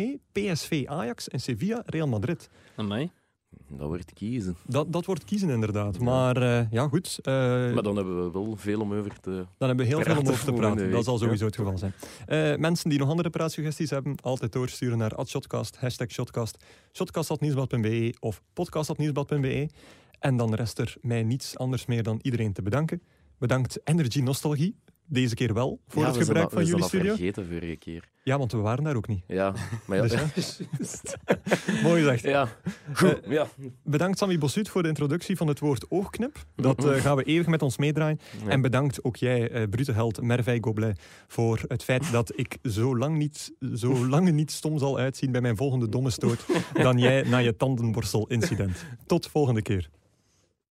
PSV-Ajax en Sevilla-Real Madrid.
Amai.
Dat wordt kiezen.
Dat, dat wordt kiezen inderdaad. Maar eh, ja, goed. eh,
Maar dan hebben we wel veel om over te...
dan hebben we heel veel om
praten
over te
volgende
praten.
week,
Dat zal
ja.
sowieso het geval zijn. Eh, mensen die nog andere praatsuggesties hebben, altijd doorsturen naar @shotcast, hashtag shotcast, shotcast.nieuwsblad.be of podcast.nieuwsblad.be. En dan rest er mij niets anders meer dan iedereen te bedanken. Bedankt Energy Nostalgie, deze keer wel voor
Ja,
het
we zijn
gebruik
dat-
van jullie
We
studio.
zijn dat vergeten vorige keer.
Ja, want we waren daar ook niet.
Ja, maar ja.
Dus,
juist.
Mooi gezegd.
ja. Goed, ja.
Bedankt Sammy Bossuut voor de introductie van het woord oogknip. Dat eh, gaan we eeuwig met ons meedraaien.
Ja.
En bedankt ook jij, eh, brute held Mervey Goblet, voor het feit dat ik zo lang niet, zo lang niet stom zal uitzien bij mijn volgende domme stoot dan jij na je tandenborstel-incident. Tot volgende keer.